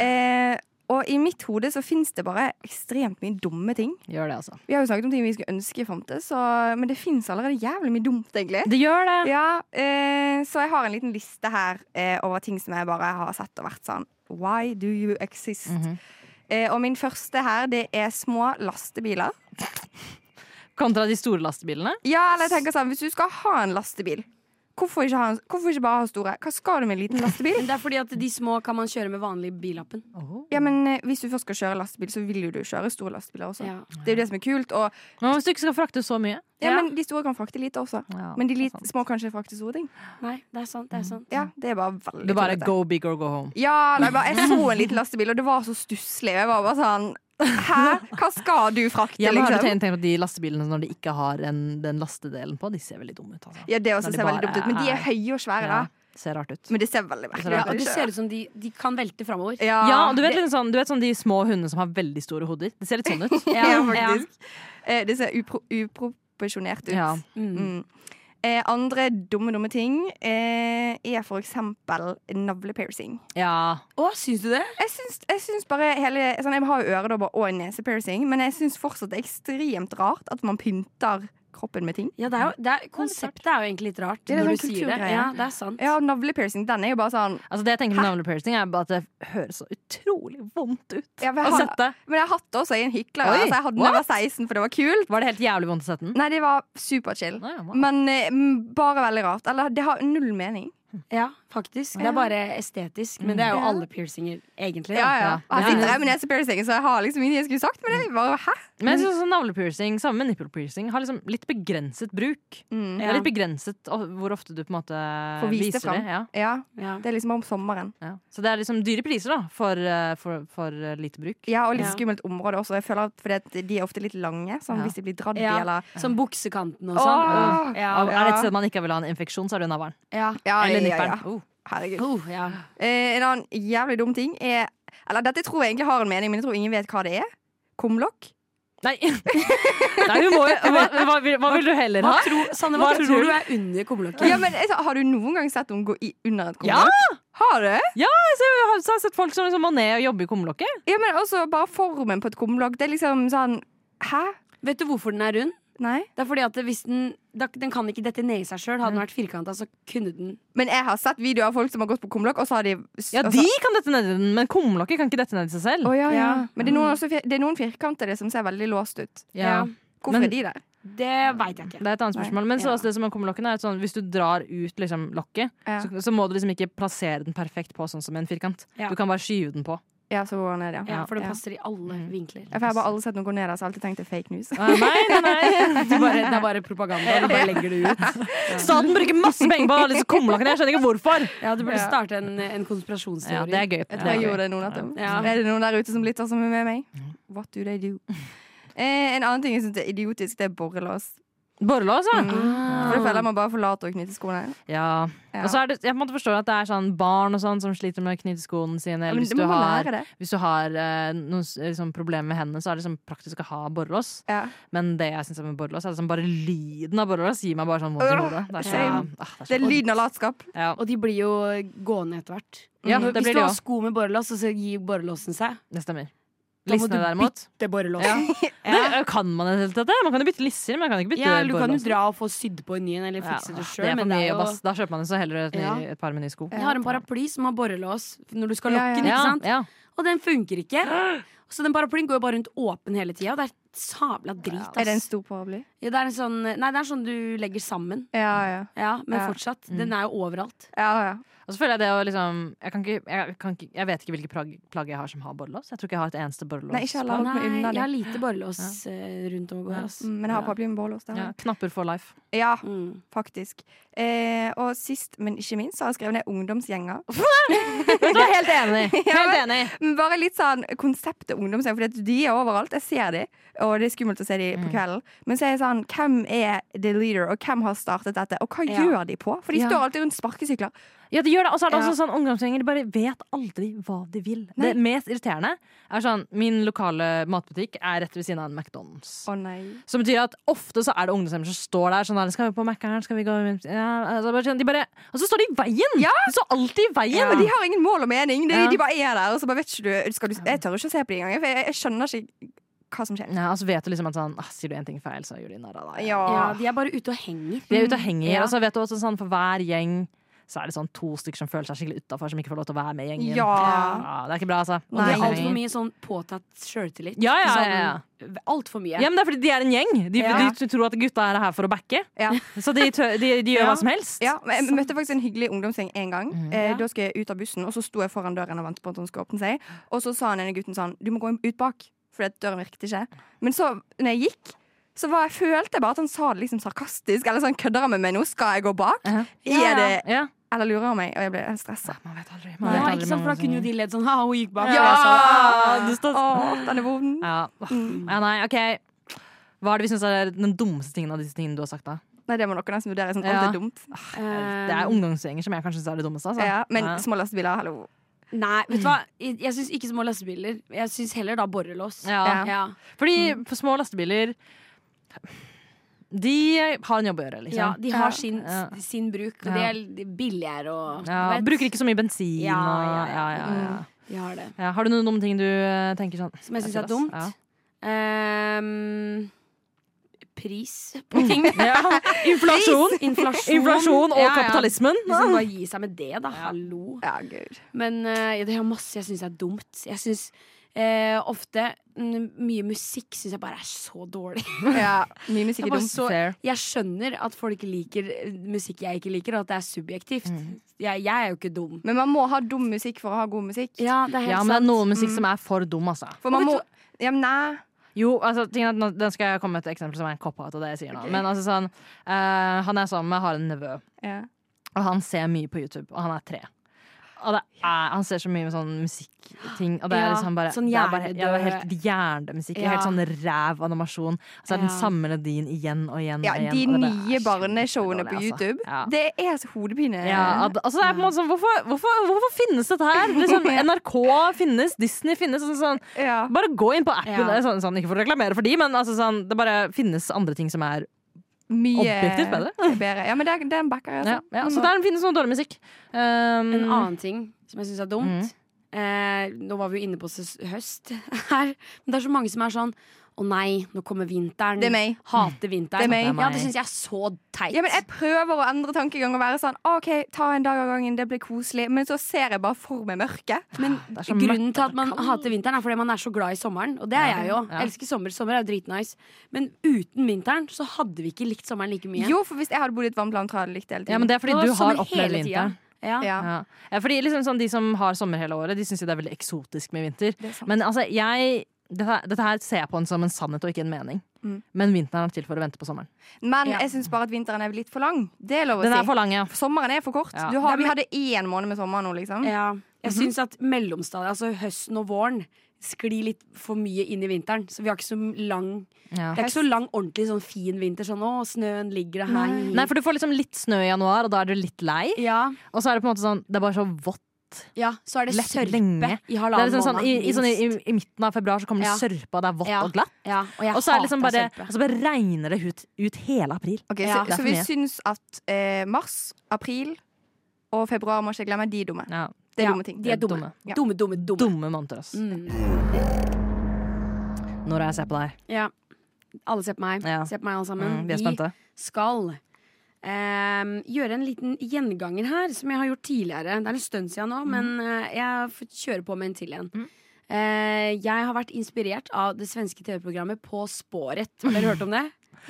S4: Eh, og i mitt hode så fins det bare ekstremt mye dumme ting.
S2: Gjør det, altså.
S4: Vi har jo snakket om ting vi skulle ønske fantes, så- men det fins allerede jævlig mye dumt, egentlig.
S2: Det gjør det.
S4: Ja, eh, så jeg har en liten liste her eh, over ting som jeg bare har sett og vært sånn Why do you exist? eh, og min første her, det er små lastebiler.
S2: Kontra de store lastebilene.
S4: Ja, eller jeg tenker sånn, hvis du skal ha en lastebil Hvorfor ikke, ha en, hvorfor ikke bare ha store? Hva skal du med en liten lastebil?
S3: Men det er fordi at de små kan man kjøre med vanlig billappen.
S4: Ja, men eh, Hvis du først skal kjøre lastebil, så vil jo du kjøre store lastebiler også.
S3: Ja.
S4: Det er jo det som er kult. Og,
S2: Men hvis du ikke skal frakte så mye
S4: ja,
S3: Ja.
S4: men De store kan frakte lite også.
S2: Ja,
S4: men de
S2: det er
S4: lit,
S2: sant.
S4: små kan ikke frakte store ting.
S3: Nei, det er sant. Det er sant.
S4: Ja, Det er bare veldig
S2: Du bare
S4: tullete.
S2: go big or go home.
S4: Ja, nei, bare, jeg så en liten lastebil, og det var så stusslig. og Jeg var bare sånn Hæ? Hva skal du frakte,
S2: Ja, men har du
S4: liksom?
S2: tenkt, tenkt på at de lastebilene når de ikke har en, den lastedelen på, de ser veldig dumme ut. Altså.
S4: Ja, det også
S2: Når det
S4: ser veldig
S2: bare
S4: dumt ut. Men de er
S2: er-
S4: høye og svære,
S2: Ja,
S4: da.
S2: ser rart ut.
S4: Men det ser veldig merkelig
S3: Ja, og det
S4: ut.
S3: ser ut som de, de kan velte framover.
S4: Ja,
S2: Ja, og du vet,
S4: det,
S2: litt sånn, du vet sånn de små hundene som har veldig store hoder? Det ser litt sånn ut.
S4: [LAUGHS]
S2: [LAUGHS]
S4: ja, faktisk. Eh, Det ser upro uproporsjonert ut.
S2: Ja.
S3: Mm.
S4: Mm. Eh, andre dumme, dumme ting eh, er for eksempel navlepiercing.
S2: ja.
S3: Å, syns du det?
S4: Jeg syns, jeg syns bare hele sånn, Jeg har jo øredobber og en nesepiercing, men jeg syns fortsatt det er ekstremt rart at man pynter kroppen med ting.
S3: Ja, det er jo, det er, Konseptet er jo egentlig litt rart.
S4: Det er
S3: når
S4: sånn
S3: du sier det.
S4: kulturgreie.
S3: Ja, det er sant.
S4: Ja, navlepiercing, den er jo bare sånn
S2: Altså, det jeg tenker med navlepiercing, er bare at det høres så utrolig vondt ut
S4: Ja, men
S2: å
S4: jeg har-
S2: sette.
S4: Men jeg har hatt det også i en hykler.
S2: Altså- Oi,
S4: Altså, jeg hadde den da jeg var 16, for det var kult.
S2: Var det helt jævlig vondt å sette den?
S4: Nei, det var superchill.
S2: Nei, ja, wow.
S4: Men eh, m, bare veldig rart. Eller det har null mening.
S3: Ja, Mm. faktisk. Det
S4: Ja.
S3: er bare estetisk. Men det er jo
S4: Ja.
S3: alle piercinger, egentlig.
S4: Ja, ja.
S3: da.
S2: Ja.
S4: Og Jeg
S2: Ja,
S4: sitter
S2: ja.
S4: her med nesepiercing, så jeg har liksom ingenting jeg skulle sagt. Men det er bare hæ?
S2: Men jeg synes også navlepiercing sammen med nippelpiercing har liksom litt begrenset bruk.
S4: Mm.
S2: Det er litt begrenset o- hvor ofte du på en måte
S4: Får vise det
S2: viser
S4: fram.
S2: det. Ja.
S4: Ja,
S3: Ja.
S4: det er liksom om sommeren.
S2: Ja. Så det er liksom dyre priser da for, eh, for, for eh, lite bruk.
S4: Ja, og litt
S3: Ja.
S4: skummelt område også. Jeg føler at fordi at de er ofte litt lange, sånn
S2: Ja.
S4: hvis de blir dradd i
S3: Ja.
S4: eller
S3: Som buksekanten og
S4: Åh!
S3: sånn. Ja.
S2: Og er det et sted man ikke vil ha en infeksjon, så er det jo navlen.
S3: Ja.
S4: ja,
S2: Eller
S4: ja, ja,
S2: nipperen.
S4: ja.
S2: Oh.
S4: Herregud.
S3: Oh, ja.
S4: Eh, en annen jævlig dum ting er Eller dette tror jeg egentlig har en mening, men jeg tror ingen vet hva det er. Kumlokk.
S2: Nei. [LAUGHS] Nei, du må jo hva, hva, vil- hva vil du heller
S3: Hva
S2: ha?
S3: tror, Sanne,
S2: Hva
S3: hva,
S2: tror
S3: tror du er under kumlokket?
S4: Ja, men jeg sa, Har du noen gang sett noen gå i, under et
S2: Ja!
S4: kumlokk? Har du?
S2: Jeg har, så har jeg sett folk som liksom må ned og jobbe i kumlokket.
S4: Ja, men også bare formen på et kumlokk. Det er liksom sånn Hæ?
S3: Vet du hvorfor den er rund?
S4: Nei?
S3: Det er fordi at hvis den, da- den kan ikke dette ned i seg sjøl. Hadde den vært firkanta, så kunne den
S4: Men jeg har sett videoer av folk som har gått på kumlokk, og så har de
S2: Ja,
S4: og så-
S2: de kan dette ned i den, men kumlokket kan ikke dette ned i seg selv.
S4: Å, ja, ja.
S3: Ja.
S4: Men det er noen, også, fir- det er noen firkantede som ser veldig låst ut.
S2: Ja.
S4: Hvorfor
S2: Men-
S4: er de der?
S3: Det veit jeg
S2: Det er
S3: ikke.
S2: et annet spørsmål. Men så
S3: Ja.
S2: også det som er kumlokkene er at sånn, hvis du drar ut liksom, lokket,
S4: Ja.
S2: så, så må du liksom ikke plassere den perfekt på, sånn som en firkant.
S3: Ja.
S2: Du kan bare skyve den på.
S4: Ja, så går han ned, ja.
S3: Ja, Mm. for den
S4: Ja.
S3: passer i alle vinkler.
S4: Ja, for Jeg har bare aldri sett noen gå ned der, så jeg har alltid tenkt det er fake news.
S2: Ah, Nei, nei,
S4: [LAUGHS]
S2: nei.
S3: Du bare, det er bare propaganda. Du bare legger det ut.
S2: [LAUGHS] Staten bruker masse penger på disse kumlokkene. Jeg skjønner ikke hvorfor.
S3: Ja, Du burde
S4: Ja.
S3: starte en, en
S2: Ja,
S3: konspirasjonsteori.
S2: det er gøy.
S4: Jeg
S2: Det
S4: tror
S2: er
S4: jeg
S2: gøy.
S4: gjorde det noen natt.
S3: Ja.
S4: Er det noen der ute som lytter som er med meg? What do they do? [LAUGHS] Eh, en annen ting jeg syns er idiotisk, det er borrelås.
S2: Borrelås, ja.
S4: Mm. For det
S3: Ah.
S4: føler jeg man bare forlater å knytte skoene.
S2: ja.
S4: Ja.
S2: Og så er det, jeg på en måte forstår at det er sånn barn og sånn som sliter med å knyte skoene sine.
S4: Ja,
S2: Eller
S4: men
S2: hvis
S4: det
S2: du
S4: må man
S2: har
S4: lære det.
S2: Hvis du har eh, noen s- liksom, problemer med hendene, så er det liksom praktisk å ha borrelås.
S4: Ja.
S2: Men det jeg syns er med borrelås, er liksom bare lyden av borrelås gir meg bare sånn vondt i
S4: Øh,
S2: hodet. Det er så,
S3: same.
S2: ah, det
S4: Det
S2: er
S4: er
S2: så
S4: lyden av latskap.
S2: ja.
S3: Og de blir jo gående etter hvert.
S2: Ja,
S3: Når-
S2: det blir
S3: Hvis
S2: de
S3: du har
S2: også.
S3: sko med borrelås, så gir borrelåsen seg.
S2: Det stemmer.
S3: Da må
S2: Lissene
S3: du
S2: derimot
S3: bytte borrelås.
S2: ja.
S4: [LAUGHS]
S3: Ja.
S2: det, Kan man det hele tatt? det? Man kan jo bytte lisser, men man kan ikke bytte
S3: du kan jo
S2: borrelås.
S3: dra og få sydd på en ny en, eller fikse
S2: Ja,
S3: det
S2: det
S3: sjøl.
S2: er for mye jobb, ass. Da kjøper man jo så heller et, ny,
S3: Ja.
S2: et par med ny sko.
S3: Jeg har en paraply som har borrelås når du skal
S4: Ja,
S3: lokke
S4: ja.
S3: den. ikke
S2: Ja,
S3: sant?
S2: ja.
S3: og den funker ikke. Så den paraplyen går jo bare rundt åpen hele tida, og det er sabla drit.
S4: Er det en
S3: Ass.
S4: stor paraply?
S3: Ja, det er en sånn, nei, det er sånn du legger sammen.
S4: Ja, ja.
S3: Ja, men
S4: Ja.
S3: fortsatt.
S2: Mm.
S3: Den er jo overalt.
S4: ja, ja.
S2: Og så føler jeg det å liksom Jeg, kan ikke, jeg, kan ikke, jeg vet ikke hvilke plagg, plagg jeg har som har borrelås. Jeg tror ikke jeg har et eneste borrelås.
S4: Nei, ikke heller. Hold meg
S3: Nei,
S4: unna det.
S3: jeg har lite borrelås eh, rundt og går. ass.
S4: Mm, Men jeg har paraply med borrelås. det har
S2: Ja,
S4: jeg.
S2: knapper for
S3: [LAUGHS]
S2: life.
S4: Ja,
S3: Mm.
S4: faktisk. Eh, og sist, men ikke minst, så har jeg skrevet ned ungdomsgjenger.
S2: Du er helt enig! Helt enig.
S4: Men Bare litt sånn konseptet ungdomsgjeng, for de er overalt. Jeg ser de, og det er skummelt å se de på kvelden. Men så er jeg sånn, hvem er the leader, og hvem har startet dette? Og hva
S3: Ja.
S4: gjør de på? For de
S2: Ja.
S4: står alltid rundt sparkesykler.
S2: Ja, det gjør det. Og så er det
S4: Ja.
S2: også sånn ungdomsgjenger de bare vet aldri hva de vil.
S4: Nei.
S2: Det mest irriterende er sånn Min lokale matbutikk er rett ved siden av en McDonald's.
S4: Å nei.
S2: Som betyr at ofte så er det ungdomshjemmer som står der sånn der, Skal vi på Mækkern? Skal vi gå ja, altså, bare sånn, de bare, Og så står de i veien!
S4: Ja.
S2: De står alltid i veien!
S4: Ja, men de har ingen mål og mening. De,
S2: Ja.
S4: de bare er der. Og så bare vet ikke du, skal du Jeg tør ikke å se på de engang, for jeg, jeg skjønner ikke hva som skjer.
S2: Nei, altså vet du liksom at sånn ah, Sier du en ting feil, så gjør de narr av deg.
S4: Ja.
S3: Ja, de er bare ute og henger.
S2: De er ute og henger.
S3: Ja.
S2: Og så vet du også sånn for hver gjeng så er det sånn to stykker som føler seg skikkelig utafor, som ikke får lov til å være med i gjengen.
S4: Ja.
S2: det er ikke bra, altså.
S3: Og det
S4: Nei.
S3: er altfor mye sånn påtatt sjøltillit.
S2: Ja, ja, ja,
S3: Sånn, altfor mye.
S2: Ja, men det er fordi de er en gjeng. De,
S4: Ja.
S2: de tror at gutta er her for å backe.
S4: Ja.
S2: Så de, tø- de, de gjør
S3: Ja.
S2: hva som helst.
S4: Ja, men
S2: Sånn.
S4: jeg møtte faktisk en hyggelig ungdomsgjeng en gang.
S2: Mm.
S4: Eh, Da skulle jeg ut av bussen, og så sto jeg foran døren og ventet på at hun skulle åpne seg. Og så sa han ene gutten sånn Du må gå ut bak, for døren virket ikke. Men så, når jeg gikk, så var jeg, følte jeg bare at han sa det liksom sarkastisk. Eller sånn kødder han med meg nå? Skal jeg gå bak?
S2: Ja.
S4: Er det
S2: Ja.
S4: Eller lurer han meg? Og jeg ble helt stressa.
S2: Man vet aldri.
S3: Ja,
S2: Man vet aldri
S3: ikke
S2: med
S3: sant, for da kunne jo
S2: ungdomsgjenger.
S3: de ledd sånn «Ah, ha, hun gikk bak.
S2: Ja.
S4: Ja,
S2: det står-
S4: Åh, den er vond.
S2: Ja. åh. ja, nei, ok Hva er det vi synes er den dummeste tingen av disse tingene du har sagt da?
S4: Nei, det må dere nesten vurdere. Sånn,
S2: Ja.
S4: Alt er dumt.
S2: Eh, Det er ungdomsgjenger som jeg kanskje synes er det dummeste altså.
S4: Ja, men
S2: ja.
S4: små lastebiler, hallo.
S3: Nei, vet du hva? Jeg, jeg syns ikke små lastebiler. Jeg syns heller da borrelås.
S2: Ja.
S3: Ja.
S2: Fordi på små lastebiler De har en jobb å gjøre liksom.
S3: Ja, de har sin,
S2: Ja.
S3: sin bruk, og
S2: Ja.
S3: det er billigere og
S2: Ja,
S3: du vet,
S2: Bruker ikke så mye bensin
S3: Ja,
S2: og,
S3: ja, ja.
S2: ja, ja, ja.
S3: De har det.
S2: Ja, Har du noen dumme ting du eh, tenker sånn
S3: Som jeg syns
S2: shit,
S3: er
S2: ass.
S3: dumt.
S2: Ja.
S3: Ehm, pris på ting.
S2: Ja. Mm. Inflasjon
S3: Inflasjon.
S2: Inflasjon og
S3: Ja, ja.
S2: kapitalismen
S3: Liksom bare gi seg med det, da. Hallo.
S4: Ja,
S2: [LAUGHS]
S4: gud.
S3: Men eh, ja, det er masse jeg syns er dumt. Jeg syns eh, ofte mm, mye musikk syns jeg bare er så dårlig. [LAUGHS]
S4: Ja, mye musikk
S3: Jeg
S4: er
S3: bare
S4: dumt.
S3: så-
S2: Fair.
S3: Jeg skjønner at folk liker eh, musikk jeg ikke liker, og at det er subjektivt.
S4: Mm.
S3: Jeg, jeg er jo ikke dum.
S4: Men man må ha dum musikk for å ha god musikk.
S3: Ja, det er helt
S2: Ja, men det er
S3: sant.
S2: noen musikk som er for dum altså.
S4: For man må ja, men Nei.
S2: Jo, altså, tingen er at nå, den skal jeg komme med et eksempel som er en cop-out av det jeg sier nå. Men altså sånn, eh, han jeg er sammen med, har en nevø,
S4: Ja.
S2: og han ser mye på YouTube, og han er tre. Og det er, han ser så mye med sånn musikkting, og det er
S3: Ja,
S2: liksom bare
S3: sånn
S2: Det er bare,
S3: hjernedød.
S2: ja, det er helt hjernedød musikk.
S3: Ja.
S2: Helt sånn ræv animasjon. Og så er det den
S3: Ja.
S2: samme melodien igjen og igjen.
S4: Ja,
S2: og igjen
S4: de
S2: og det bare
S4: nye
S2: er
S4: barneshowene på
S2: kjempedårlig, altså.
S4: YouTube.
S2: Ja.
S4: Det er så hodepine.
S2: Ja, at- altså det er på en måte sånn, hvorfor, hvorfor, hvorfor finnes dette her? Liksom, NRK finnes, Disney finnes. Sånn, sånn,
S4: Ja.
S2: bare gå inn på appen.
S3: Ja.
S2: Sånn, sånn, ikke for å reklamere for de, men altså, sånn, det bare finnes andre ting som er
S4: Mye
S2: Objektivt bedre.
S4: [LAUGHS] bedre. Ja, men det er, det er en backer. Altså.
S2: ja, ja, Så der finnes noe dårlig musikk. Um,
S3: En annen ting som jeg syns er
S4: Mm.
S3: dumt eh, Nå var vi jo inne på ses- høst [LAUGHS] her, men det er så mange som er sånn Å nei, nå kommer vinteren.
S4: Det er meg.
S3: Hater
S4: Det
S3: vinteren.
S4: er meg.
S3: Ja, det syns jeg er så teit.
S4: Ja, men jeg prøver å endre tankegang og være sånn OK, ta en dag av gangen, det blir koselig. Men så ser jeg bare for meg mørket.
S3: Men
S2: Ah, det er så
S3: grunnen
S2: mørkt
S3: til at man hater vinteren, er fordi man er så glad i sommeren. Og det er jeg jo.
S2: Ja.
S3: Jeg elsker sommer. Sommer er jo dritnice. Men uten vinteren så hadde vi ikke likt sommeren like mye.
S4: Jo, for hvis jeg hadde bodd i et varmt land, tror jeg jeg hadde likt det hele tiden.
S2: ja, men det er fordi
S3: Det var
S2: du
S3: sommer
S2: har opplevd
S3: hele tida.
S2: vinteren.
S3: Ja.
S4: Ja.
S2: Ja. Ja, fordi liksom sånn, De som har sommer hele året, De syns jo det er veldig eksotisk med vinter.
S4: Det er sant.
S2: Men altså, jeg dette, dette her ser jeg på den som en sannhet og ikke en mening. Men vinteren er til for å vente på sommeren.
S4: Men
S3: Ja.
S4: jeg syns bare at vinteren er litt for lang. Det er lov å
S2: Den er
S4: si.
S2: for lang, ja.
S4: Sommeren er for kort.
S2: Ja.
S4: Du har, vi hadde én måned med sommer nå, liksom.
S3: Ja. Jeg
S2: Mhm.
S3: syns at mellomstadiet, altså høsten og våren, sklir litt for mye inn i vinteren. Så vi har ikke så lang
S2: ja.
S3: Det er ikke så lang, ordentlig sånn fin vinter sånn 'Å, snøen ligger der'. Nei.
S2: Nei, for du får liksom litt snø i januar, og da er du litt lei.
S3: ja,
S2: Og så er det på en måte sånn, det er bare så vått.
S3: ja, så er det
S2: Lett
S3: sørpe
S2: lenge.
S3: i
S2: Det er
S3: halvannen
S2: liksom sånn, i, i, sånn, i,
S3: minst.
S2: I midten av februar så kommer
S3: Ja.
S2: det sørpe, og det er vått
S3: Ja.
S2: og glatt.
S3: ja, og jeg
S2: Og så, er det
S3: hater
S2: liksom bare,
S3: sørpe.
S2: og så bare regner det ut, ut hele april.
S4: Ok,
S3: Ja.
S4: så,
S2: Det er
S4: så
S2: for
S4: vi
S2: mye.
S4: syns at eh, mars, april og februar må ikke glemme de er dumme.
S2: Ja.
S4: Det er
S3: Ja,
S4: dumme ting.
S3: De er dumme.
S2: dumme.
S4: Ja.
S3: Dumme, dumme, dumme.
S2: Dumme måneder, ass.
S3: Mm.
S2: Når jeg ser på deg.
S3: Ja. Alle ser på meg.
S2: Ja.
S3: Se på meg, alle sammen.
S2: Mm, vi er spente.
S3: skal ehm, gjøre en liten
S2: Mm.
S3: gjenganger her, som jeg har gjort tidligere. Det er en stund siden nå, men eh, jeg får kjøre på med en til en. Eh, jeg har vært inspirert av det svenske TV-programmet På spåret. Har dere hørt
S2: [LAUGHS]
S3: om det?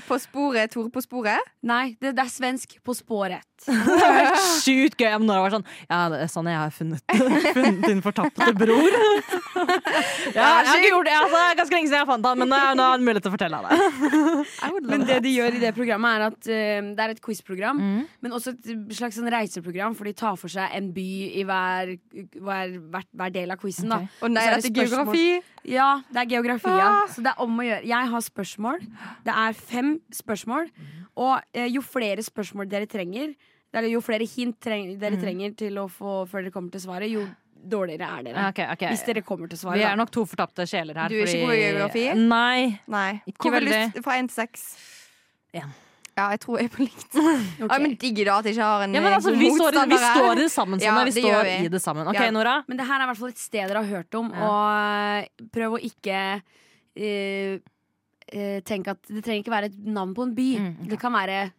S4: På sporet, Tore på sporet.
S3: Nei, det, det er svensk På spåret.
S2: Sjukt gøy! Men når jeg var sånn Ja, det er sånn jeg har funnet, [LAUGHS] funnet din fortapte bror. ja, jeg har ikke gjort det altså, det er ganske lenge siden jeg fant han, men nå har jeg en mulighet til å fortelle deg.
S3: Men det de gjør i det programmet, er at eh, det er et quizprogram,
S2: Mm.
S3: men også et slags sånn reiseprogram, for de tar for seg en by i hver, hver, hver, hver del av quizen.
S2: Ok.
S4: Å nei,
S3: Og så
S4: dette
S3: er det
S4: er
S3: spørsmål.
S4: geografi.
S3: Ja, det er geografi,
S2: Ah.
S3: ja. Så det er om å gjøre. Jeg har spørsmål. Det er fem spørsmål. Og eh, jo flere spørsmål dere trenger, eller jo flere hint treng,
S2: Mm.
S3: dere trenger til å få før dere kommer til svaret, jo dårligere er dere.
S2: Ok, ok.
S3: Hvis dere kommer til svaret.
S2: Vi er
S3: da.
S2: nok to fortapte sjeler her.
S4: Du er ikke god i geografi?
S2: Nei.
S4: Nei.
S2: Ikke
S4: Hvor vil du
S2: veldig.
S4: s- fra én til seks?
S2: En.
S4: Ja, jeg tror jeg er på likt.
S3: Ok.
S4: Ja, men digg da at jeg ikke har en
S2: Ja, men
S4: eh,
S2: altså,
S4: god
S2: vi, står, i- vi
S4: motstander her.
S2: står i det sammen,
S4: Ja,
S2: Sanne. vi
S4: det
S2: står
S4: gjør vi.
S2: i det sammen. Ok,
S4: Ja.
S2: Nora.
S3: Men det her er i hvert fall et sted dere har hørt om,
S2: Ja.
S3: og prøv å ikke eh, eh, tenke at Det trenger ikke være et navn på en by.
S2: Mm, ok.
S3: Det kan være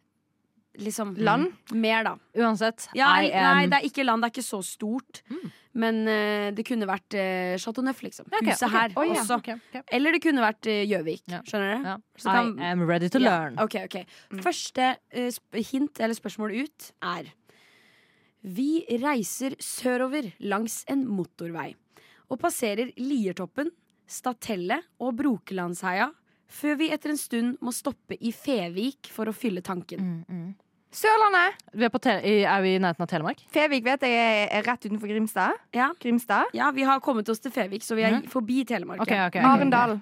S3: liksom
S4: Land?
S3: Mer, da.
S2: Uansett.
S3: Ja,
S2: I
S3: eller- nei,
S2: am-
S3: det er ikke land. Det er ikke så stort.
S2: Mm.
S3: Men eh, det kunne vært uh, Chateau Neuf, liksom.
S2: Ok,
S3: Huset
S2: ok.
S3: her
S2: Oi, ja.
S3: også.
S2: Ok, ok.
S3: Eller det kunne vært eh, Gjøvik.
S2: Ja.
S3: Skjønner du?
S2: Ja. Mm.
S3: Så kan-
S2: I am ready to
S3: Ja,
S2: learn.
S3: ok, ok. Første eh, sp hint eller spørsmål ut er Vi reiser sørover langs en motorvei og passerer Liertoppen, Statelle og Brokelandsheia før vi etter en stund må stoppe i Fevik for å fylle tanken.
S2: Mm, mm.
S4: Sørlandet!
S2: Vi er, på tele i- er vi i nærheten av Telemark?
S4: Fevik vet jeg er- er rett utenfor Grimstad.
S3: Ja.
S4: Grimstad.
S3: Ja, vi har kommet oss til Fevik, så vi er forbi Telemark.
S2: Ok,
S3: ja.
S2: ok, ok.
S4: Arendal.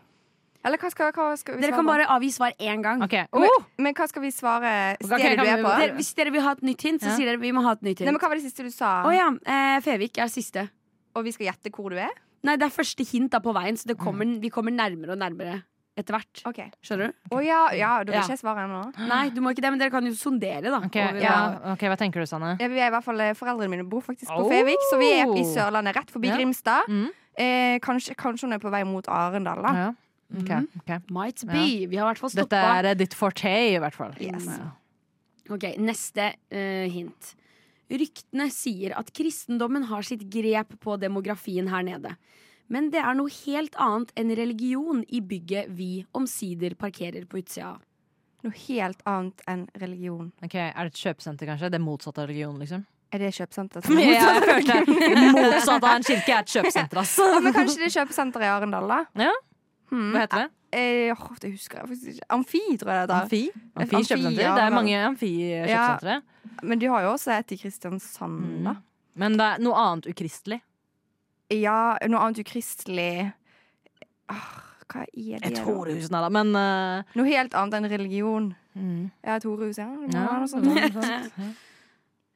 S4: Eller hva skal, hva skal vi
S3: Dere
S4: svare
S3: kan
S4: på?
S3: bare avgi svar én gang.
S2: Ok.
S4: Men,
S2: Oh!
S4: men hva skal vi svare stedet
S2: kan
S4: du er
S2: vi-
S4: på?
S3: Dere, hvis dere vil ha et nytt hint, så
S2: Ja.
S3: sier dere vi må ha et nytt
S4: Nei, men
S3: hint.
S4: Hva var det siste du sa?
S3: Å ja, eh, Fevik er siste.
S4: Og vi skal gjette hvor du er?
S3: Nei, det er første hint da på veien, så det kommer,
S2: Mm.
S3: vi kommer nærmere og nærmere etter hvert.
S4: Ok.
S3: Skjønner du?
S4: Å ja, ja, da vil
S3: Ja.
S4: ikke jeg svare ennå.
S3: Nei, du må ikke det, men dere kan jo sondere, da.
S2: Ok,
S3: over hva-
S2: ja. ok, hva tenker du, Sanne?
S4: Ja, vi er i hvert fall, eh, Foreldrene mine bor faktisk på
S2: Oh.
S4: Fevik, så vi er i Sørlandet, rett forbi
S2: Ja.
S4: Grimstad.
S2: Mm.
S4: Eh, kanskje, kanskje hun er på vei mot Arendal, da.
S2: Ja. Ok, ok.
S3: Might be. Vi har i hvert fall
S2: Dette
S3: stoppa.
S2: er eh, ditt forte, i hvert fall.
S4: Yes.
S2: Ja.
S3: Ok, neste eh, hint. Ryktene sier at kristendommen har sitt grep på demografien her nede. Men det er noe helt annet enn religion i bygget vi omsider parkerer på utsida av.
S4: Noe helt annet enn religion.
S2: Ok, Er det et kjøpesenter, kanskje? Det motsatte av religion, liksom?
S4: Er det kjøpesenter?
S2: [LAUGHS] Ja, jeg følte Motsatt av en kirke er et kjøpesenter, ass.
S4: Ja, men kanskje det er kjøpesenter i Arendal, da?
S2: Ja.
S4: Hmm.
S2: Hva heter det?
S4: Eh, åh, det husker jeg faktisk ikke. Amfi, tror jeg det heter.
S2: Amfi? Amfi
S4: Amfi,
S2: kjøpesenter?
S4: ja,
S2: Det er
S4: vel.
S2: mange eh, amfi-kjøpesentre.
S4: Men de har jo også et i
S2: Mm.
S4: Kristiansand, da.
S2: Men det er noe annet ukristelig.
S4: Ja, noe annet ukristelig Åh, Hva er det?
S2: Et
S4: da?
S2: horehus, nei da, men eh,
S4: Noe helt annet enn religion.
S2: mm.
S4: Ja, et horehus, ja.
S2: ja,
S4: ja noe sånt.
S2: det var noe sånt.
S3: [LAUGHS]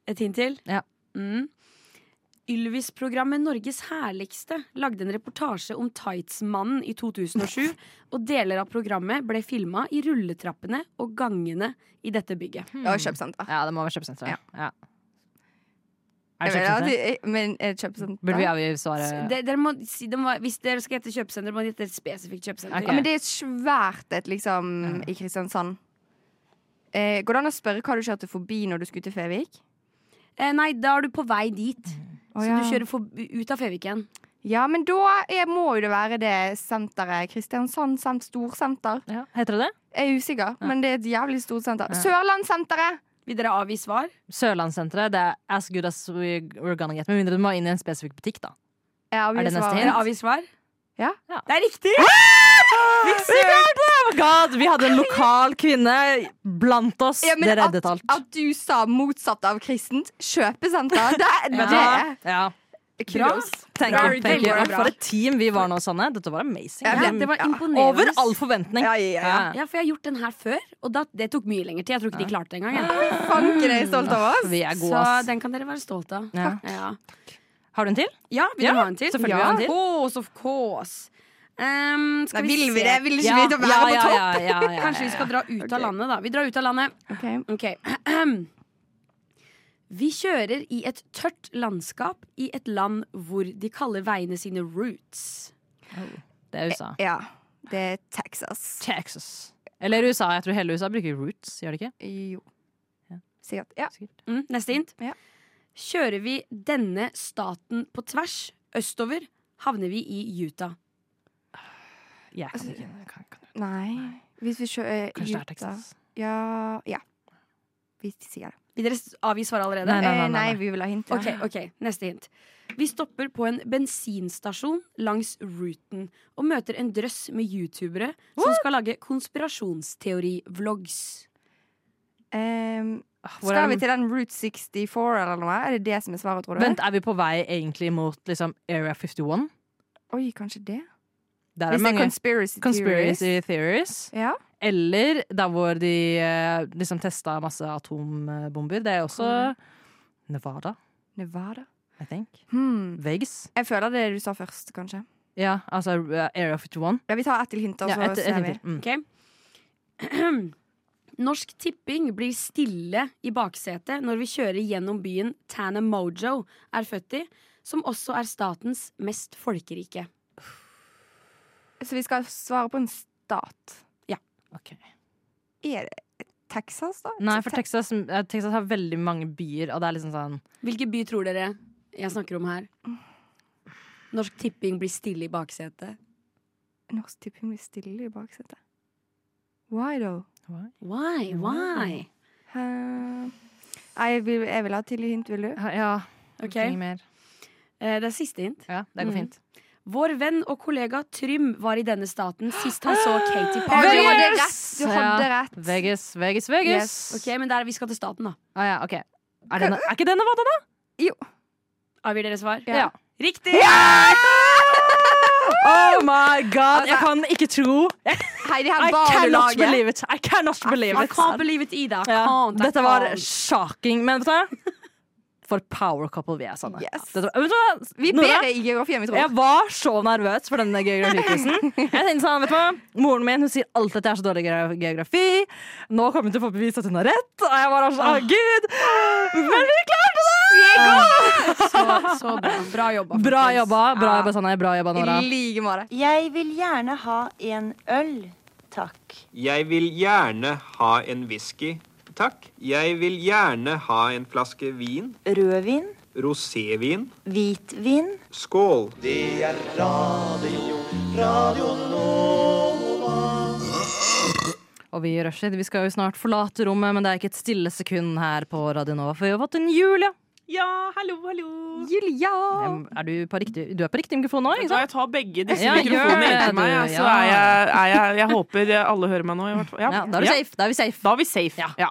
S3: Et hint til?
S2: Ja.
S3: Mm. Ylvis-programmet Norges herligste lagde en reportasje om Tightsmannen i
S4: [LAUGHS]
S3: 2007, og deler av programmet ble filma i rulletrappene og gangene i dette bygget.
S4: Ja, kjøpesenter.
S2: hmm. Mm. Ja, det må være kjøpesenter.
S4: Ja.
S2: Ja.
S4: Jeg
S2: Er det
S4: vet at
S2: kjøpesenter?
S4: de- Men eh, er det kjøpesenter?
S2: Burde vi avgi svaret?
S3: De, dere må, si, dere må, hvis dere skal hete kjøpesenter, må dere hete et spesifikt kjøpesenter.
S2: Ok.
S4: Ja, men det er svært et, liksom, i Kristiansand. Eh, går det an å spørre hva du kjørte forbi når du skulle til Fevik?
S3: Eh, nei, da er du på vei dit.
S4: Mm. Å,
S3: så
S4: ja.
S3: du kjører forbi- ut av Feviken.
S4: Ja, men da er, må jo det være det senteret. Kristiansand semt storsenter.
S2: Ja. Heter det det?
S4: Jeg er usikker, men det er et jævlig stort senter. Sørlandssenteret!
S3: Vil dere avgi svar?
S2: Sørlandssenteret. Det er as good as we- we're gonna get. Med mindre du må inn i en spesifikk butikk, da.
S4: Ah, Ja, vi
S2: Er det neste
S4: svarer.
S2: hint?
S3: Dere avgi svar?
S4: Ja.
S3: Det er riktig!
S2: Oh my God, vi hadde en lokal kvinne blant oss.
S4: Ja, men
S2: det reddet
S4: at,
S2: alt.
S4: at du sa motsatt av kristent
S2: [LAUGHS]
S4: kjøpesenter, det, det,
S2: Vet du
S4: er
S2: hva? ja.
S4: kudos.
S2: Thank
S3: Bra,
S2: you, thank you.
S3: veldig bra.
S2: For et team vi var nå, Sanne. Dette var amazing.
S4: Ja,
S3: Ja, det var imponerende.
S2: Over all forventning.
S4: Ja, ja, ja.
S3: Ja, for jeg har gjort den her før, og da, det tok mye lengre tid. Jeg tror ikke de klarte det engang. jeg.
S2: Ah.
S4: Fanken er jeg stolt av oss.
S2: Vi er gode,
S3: Så
S2: ass.
S3: den kan dere være stolt av.
S2: Ja.
S3: Ja,
S2: Har du en til?
S3: ja vil
S2: Ja,
S3: dere ha en til?
S2: selvfølgelig vil vi ha en til.
S3: Course, of course. Ehm, skal
S4: Nei, vil
S3: se.
S4: vi det? Vil ikke
S2: Ja,
S4: vi til å
S2: ja,
S4: være
S2: ja,
S4: på topp?
S2: ja, ja, ja, ja.
S3: Kanskje vi skal dra ut av
S4: Ok.
S3: landet, da. Vi drar ut av landet.
S4: Ok.
S3: Ok. [CLEARS THROAT] Vi kjører i et tørt landskap i et land hvor de kaller veiene sine roots.
S2: Det er USA.
S4: Ja, det er Texas.
S2: Texas. Eller USA. Jeg tror hele USA bruker roots, gjør de ikke?
S4: Jo. Sikkert. Ja.
S2: Sikkert.
S3: Mm, neste hint.
S4: Ja.
S3: Kjører vi denne staten på tvers, østover, havner vi i Utah.
S2: Jeg kan
S4: Altså,
S2: ikke. jeg Kan, kan,
S4: Nei. Hvis vi kjører
S2: kanskje det er
S4: Utah.
S2: Texas.
S4: Ja, ja. Vi sier det.
S3: Vil dere s- avgi svaret allerede?
S2: Nei, nei, nei,
S4: Eh,
S2: nei, nei.
S4: vi vil ha hint.
S3: Ok, ok, Neste hint. Vi stopper på en bensinstasjon langs routen og møter en drøss med youtubere som skal lage konspirasjonsteori-vlogs.
S4: Ehm,
S2: Ah, hvor er
S4: skal vi
S2: den?
S4: til den Route 64 eller noe? Er det det som er svaret, tror du?
S2: Vent, er vi på vei egentlig mot liksom, Area 51?
S4: Oi, kanskje det?
S2: Der er
S4: Hvis det er
S2: mange
S4: conspiracy, theories.
S2: conspiracy theories.
S4: Ja.
S2: Eller der hvor de eh, liksom testa masse atombomber. Det er også Nevada,
S4: Nevada.
S2: I think.
S4: Hmm.
S2: Vegas.
S4: Jeg føler det du sa først, kanskje.
S2: Ja, altså eh, Area 51.
S4: Ja, Vi tar ett til hint, og altså, så
S2: Ja, et, et,
S4: ser vi.
S2: hint til. mm.
S3: Ok Norsk Tipping blir stille i baksetet når vi kjører gjennom byen Tanamojo er født i, som også er statens mest folkerike.
S4: Så vi skal svare på en stat.
S2: Ok.
S4: Er det Texas, da?
S2: Nei, for Texas, eh, Texas har veldig mange byer, og det er liksom sånn
S3: Hvilken by tror dere jeg snakker om her? Norsk Tipping blir stille i baksetet.
S4: Norsk Tipping blir stille i baksetet. Why, though?
S3: Why? Why?
S4: Hæ? Nei, jeg vil, jeg vil ha et tidlig hint, vil du?
S2: Ja,
S3: Ok,
S2: trenger
S3: eh,
S2: mer.
S3: Det er siste hint.
S2: Ja, det går
S3: Mm.
S2: fint.
S3: Vår venn og kollega Trym var i denne staten sist han
S2: [GASPS]
S3: så Katy Perry.
S4: Vegas! hadde rett, du
S2: Vegas!
S4: hadde
S2: Ja,
S4: rett.
S2: Vegas, Vegas, Vegas.
S3: Ok, Men der, vi skal til staten, da.
S2: Ah, ja, ok. Er, det, er ikke det Nevada, da?
S3: Avgir dere svar?
S2: Ja.
S3: Riktig!
S2: Oh my god!
S4: jeg
S2: jeg kan ikke tro.
S4: Heidi, her var
S2: I
S4: du
S2: cannot
S4: laget.
S2: believe it! I cannot believe
S3: I
S2: it.
S3: can't believe it, Ida. I
S2: Ja.
S3: can't, I
S2: Dette var [LAUGHS]
S3: can't.
S2: shocking, men vet du hva? For power couple vi er, Sanne.
S4: Yes.
S2: Dette, vet du hva?
S4: Vi er
S2: Nora,
S4: bedre i geografi enn vi tror.
S2: Jeg var så nervøs for denne geografiquizen. Jeg tenkte sånn, vet du hva? Moren min hun sier alltid at jeg er så dårlig i geo- geografi. Nå kommer hun til å få bevist at hun har rett. Og jeg var sånn, å gud! Men vi klarte det!
S3: Så, så bra. Bra jobba.
S2: Bra
S3: folkens.
S2: jobba, bra
S3: Ja.
S2: jobba, Sanne. Bra jobba, Nora.
S4: I like måte.
S6: Jeg vil gjerne ha en øl, takk.
S7: Jeg vil gjerne ha en whisky, takk. Jeg vil gjerne ha en flaske vin,
S6: Rødvin,
S7: rosévin,
S6: hvitvin.
S7: skål.
S2: Og vi i Rushdie, vi skal jo snart forlate rommet, men det er ikke et stille sekund her på Radio Nova, for vi har fått en Julia.
S8: Ja, hallo, hallo.
S4: Julia!
S2: Er du, på riktig, du er på riktig mikrofon nå,
S8: Vet du
S2: ikke
S8: hva,
S2: sant?
S8: jeg tar begge disse
S2: Ja, gjør
S8: mikrofonene
S2: det,
S8: inntil meg.
S2: du,
S8: ja, Så
S2: ja.
S8: er jeg, er jeg, jeg håper alle hører meg nå. I hvert fall. Ja.
S2: Ja, da er du
S8: Ja,
S2: safe. Da er vi safe.
S8: da er vi safe. Ja.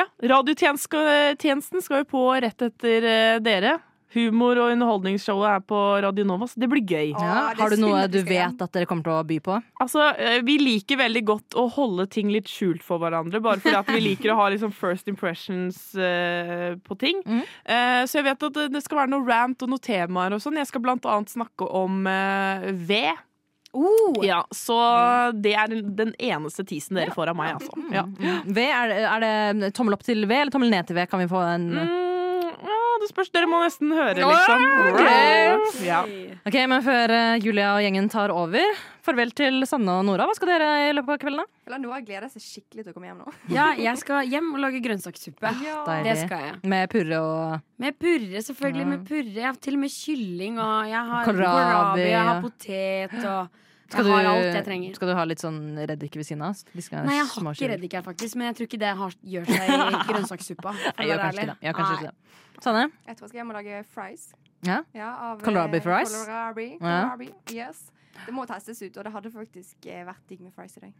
S8: Ja. Radiotjenesten skal jo på rett etter eh, dere. Humor- og underholdningsshowet er på Radio Nova, så det blir gøy.
S2: Ja.
S4: Å, det
S2: Har du noe
S4: synd at vi
S2: du
S4: skal
S2: vet at dere kommer til å by på?
S8: Altså, eh, Vi liker veldig godt å holde ting litt skjult for hverandre. Bare fordi at vi liker å ha liksom first impressions eh, på ting.
S2: Mhm.
S8: Eh, så jeg vet at det- det skal være noe rant og noe temaer og sånn. Jeg skal blant annet snakke om eh, ved. Ja, så det er den- den eneste tisen dere får av meg, altså. Ja.
S2: V, er, det- er det tommel opp til V eller tommel ned til V? Kan vi få en
S8: Mm, ja, det spørs. Dere må nesten høre, sånn. liksom.
S2: ok.
S8: Ja.
S2: Ok, men Før eh, Julia og gjengen tar over, farvel til Sanne og Nora. Hva skal dere i løpet av kvelden? da?
S4: Eller Nora gleder seg skikkelig til å komme hjem nå.
S3: Ja, jeg skal hjem og lage grønnsakssuppe. Det
S2: Deilig.
S3: skal jeg.
S2: Med purre og
S3: Med purre, selvfølgelig. Med purre. Jeg har til og med kylling, og jeg har
S2: Kohlrabi,
S3: kohlrabi, jeg har
S2: ja.
S3: potet, og
S2: Skal
S3: jeg
S2: du-
S3: har alt jeg trenger.
S2: Skal du ha litt sånn reddik ved siden av? De skal
S3: Nei, jeg har ikke
S2: småkjøre.
S3: reddik her, faktisk, men jeg tror ikke det har, gjør
S2: [LAUGHS]
S3: seg i grønnsakssuppa. for
S2: Jeg
S3: å
S2: gjør
S3: være
S2: kanskje ikke
S3: ærlig.
S2: det. Jeg gjør kanskje ikke det. Sanne?
S4: Jeg tror jeg skal hjem og lage fries.
S2: Ja?
S4: av, eh,
S2: Kohlrabi fries?
S4: Kohlrabi.
S2: Ja.
S4: kohlrabi. Yes. Det må testes ut, og det hadde faktisk eh, vært digg med fries i dag.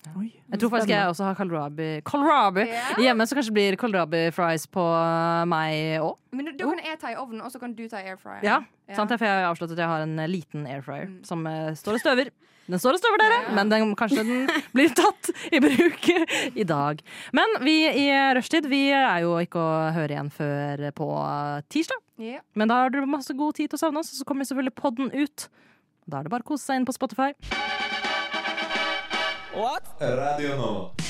S2: Jeg tror faktisk jeg også har kålrabi Kålrabi! Hjemme så kanskje det blir kålrabi fries på eh, meg òg.
S4: Men da kan jeg ta i ovnen, og så kan du ta i airfryer.
S2: Ja, sant? For jeg har avslått at jeg har en eh, liten air fryer som eh, står og støver. Den står og støver, dere, men den, kanskje den blir tatt i bruk i dag. Men vi i rushtid vi er jo ikke å høre igjen før på tirsdag.
S4: Ja.
S2: Men da har dere masse god tid til å savne oss, og så kommer selvfølgelig podden ut. Da er det bare å kose seg inn på Spotify.
S9: Radio Nova.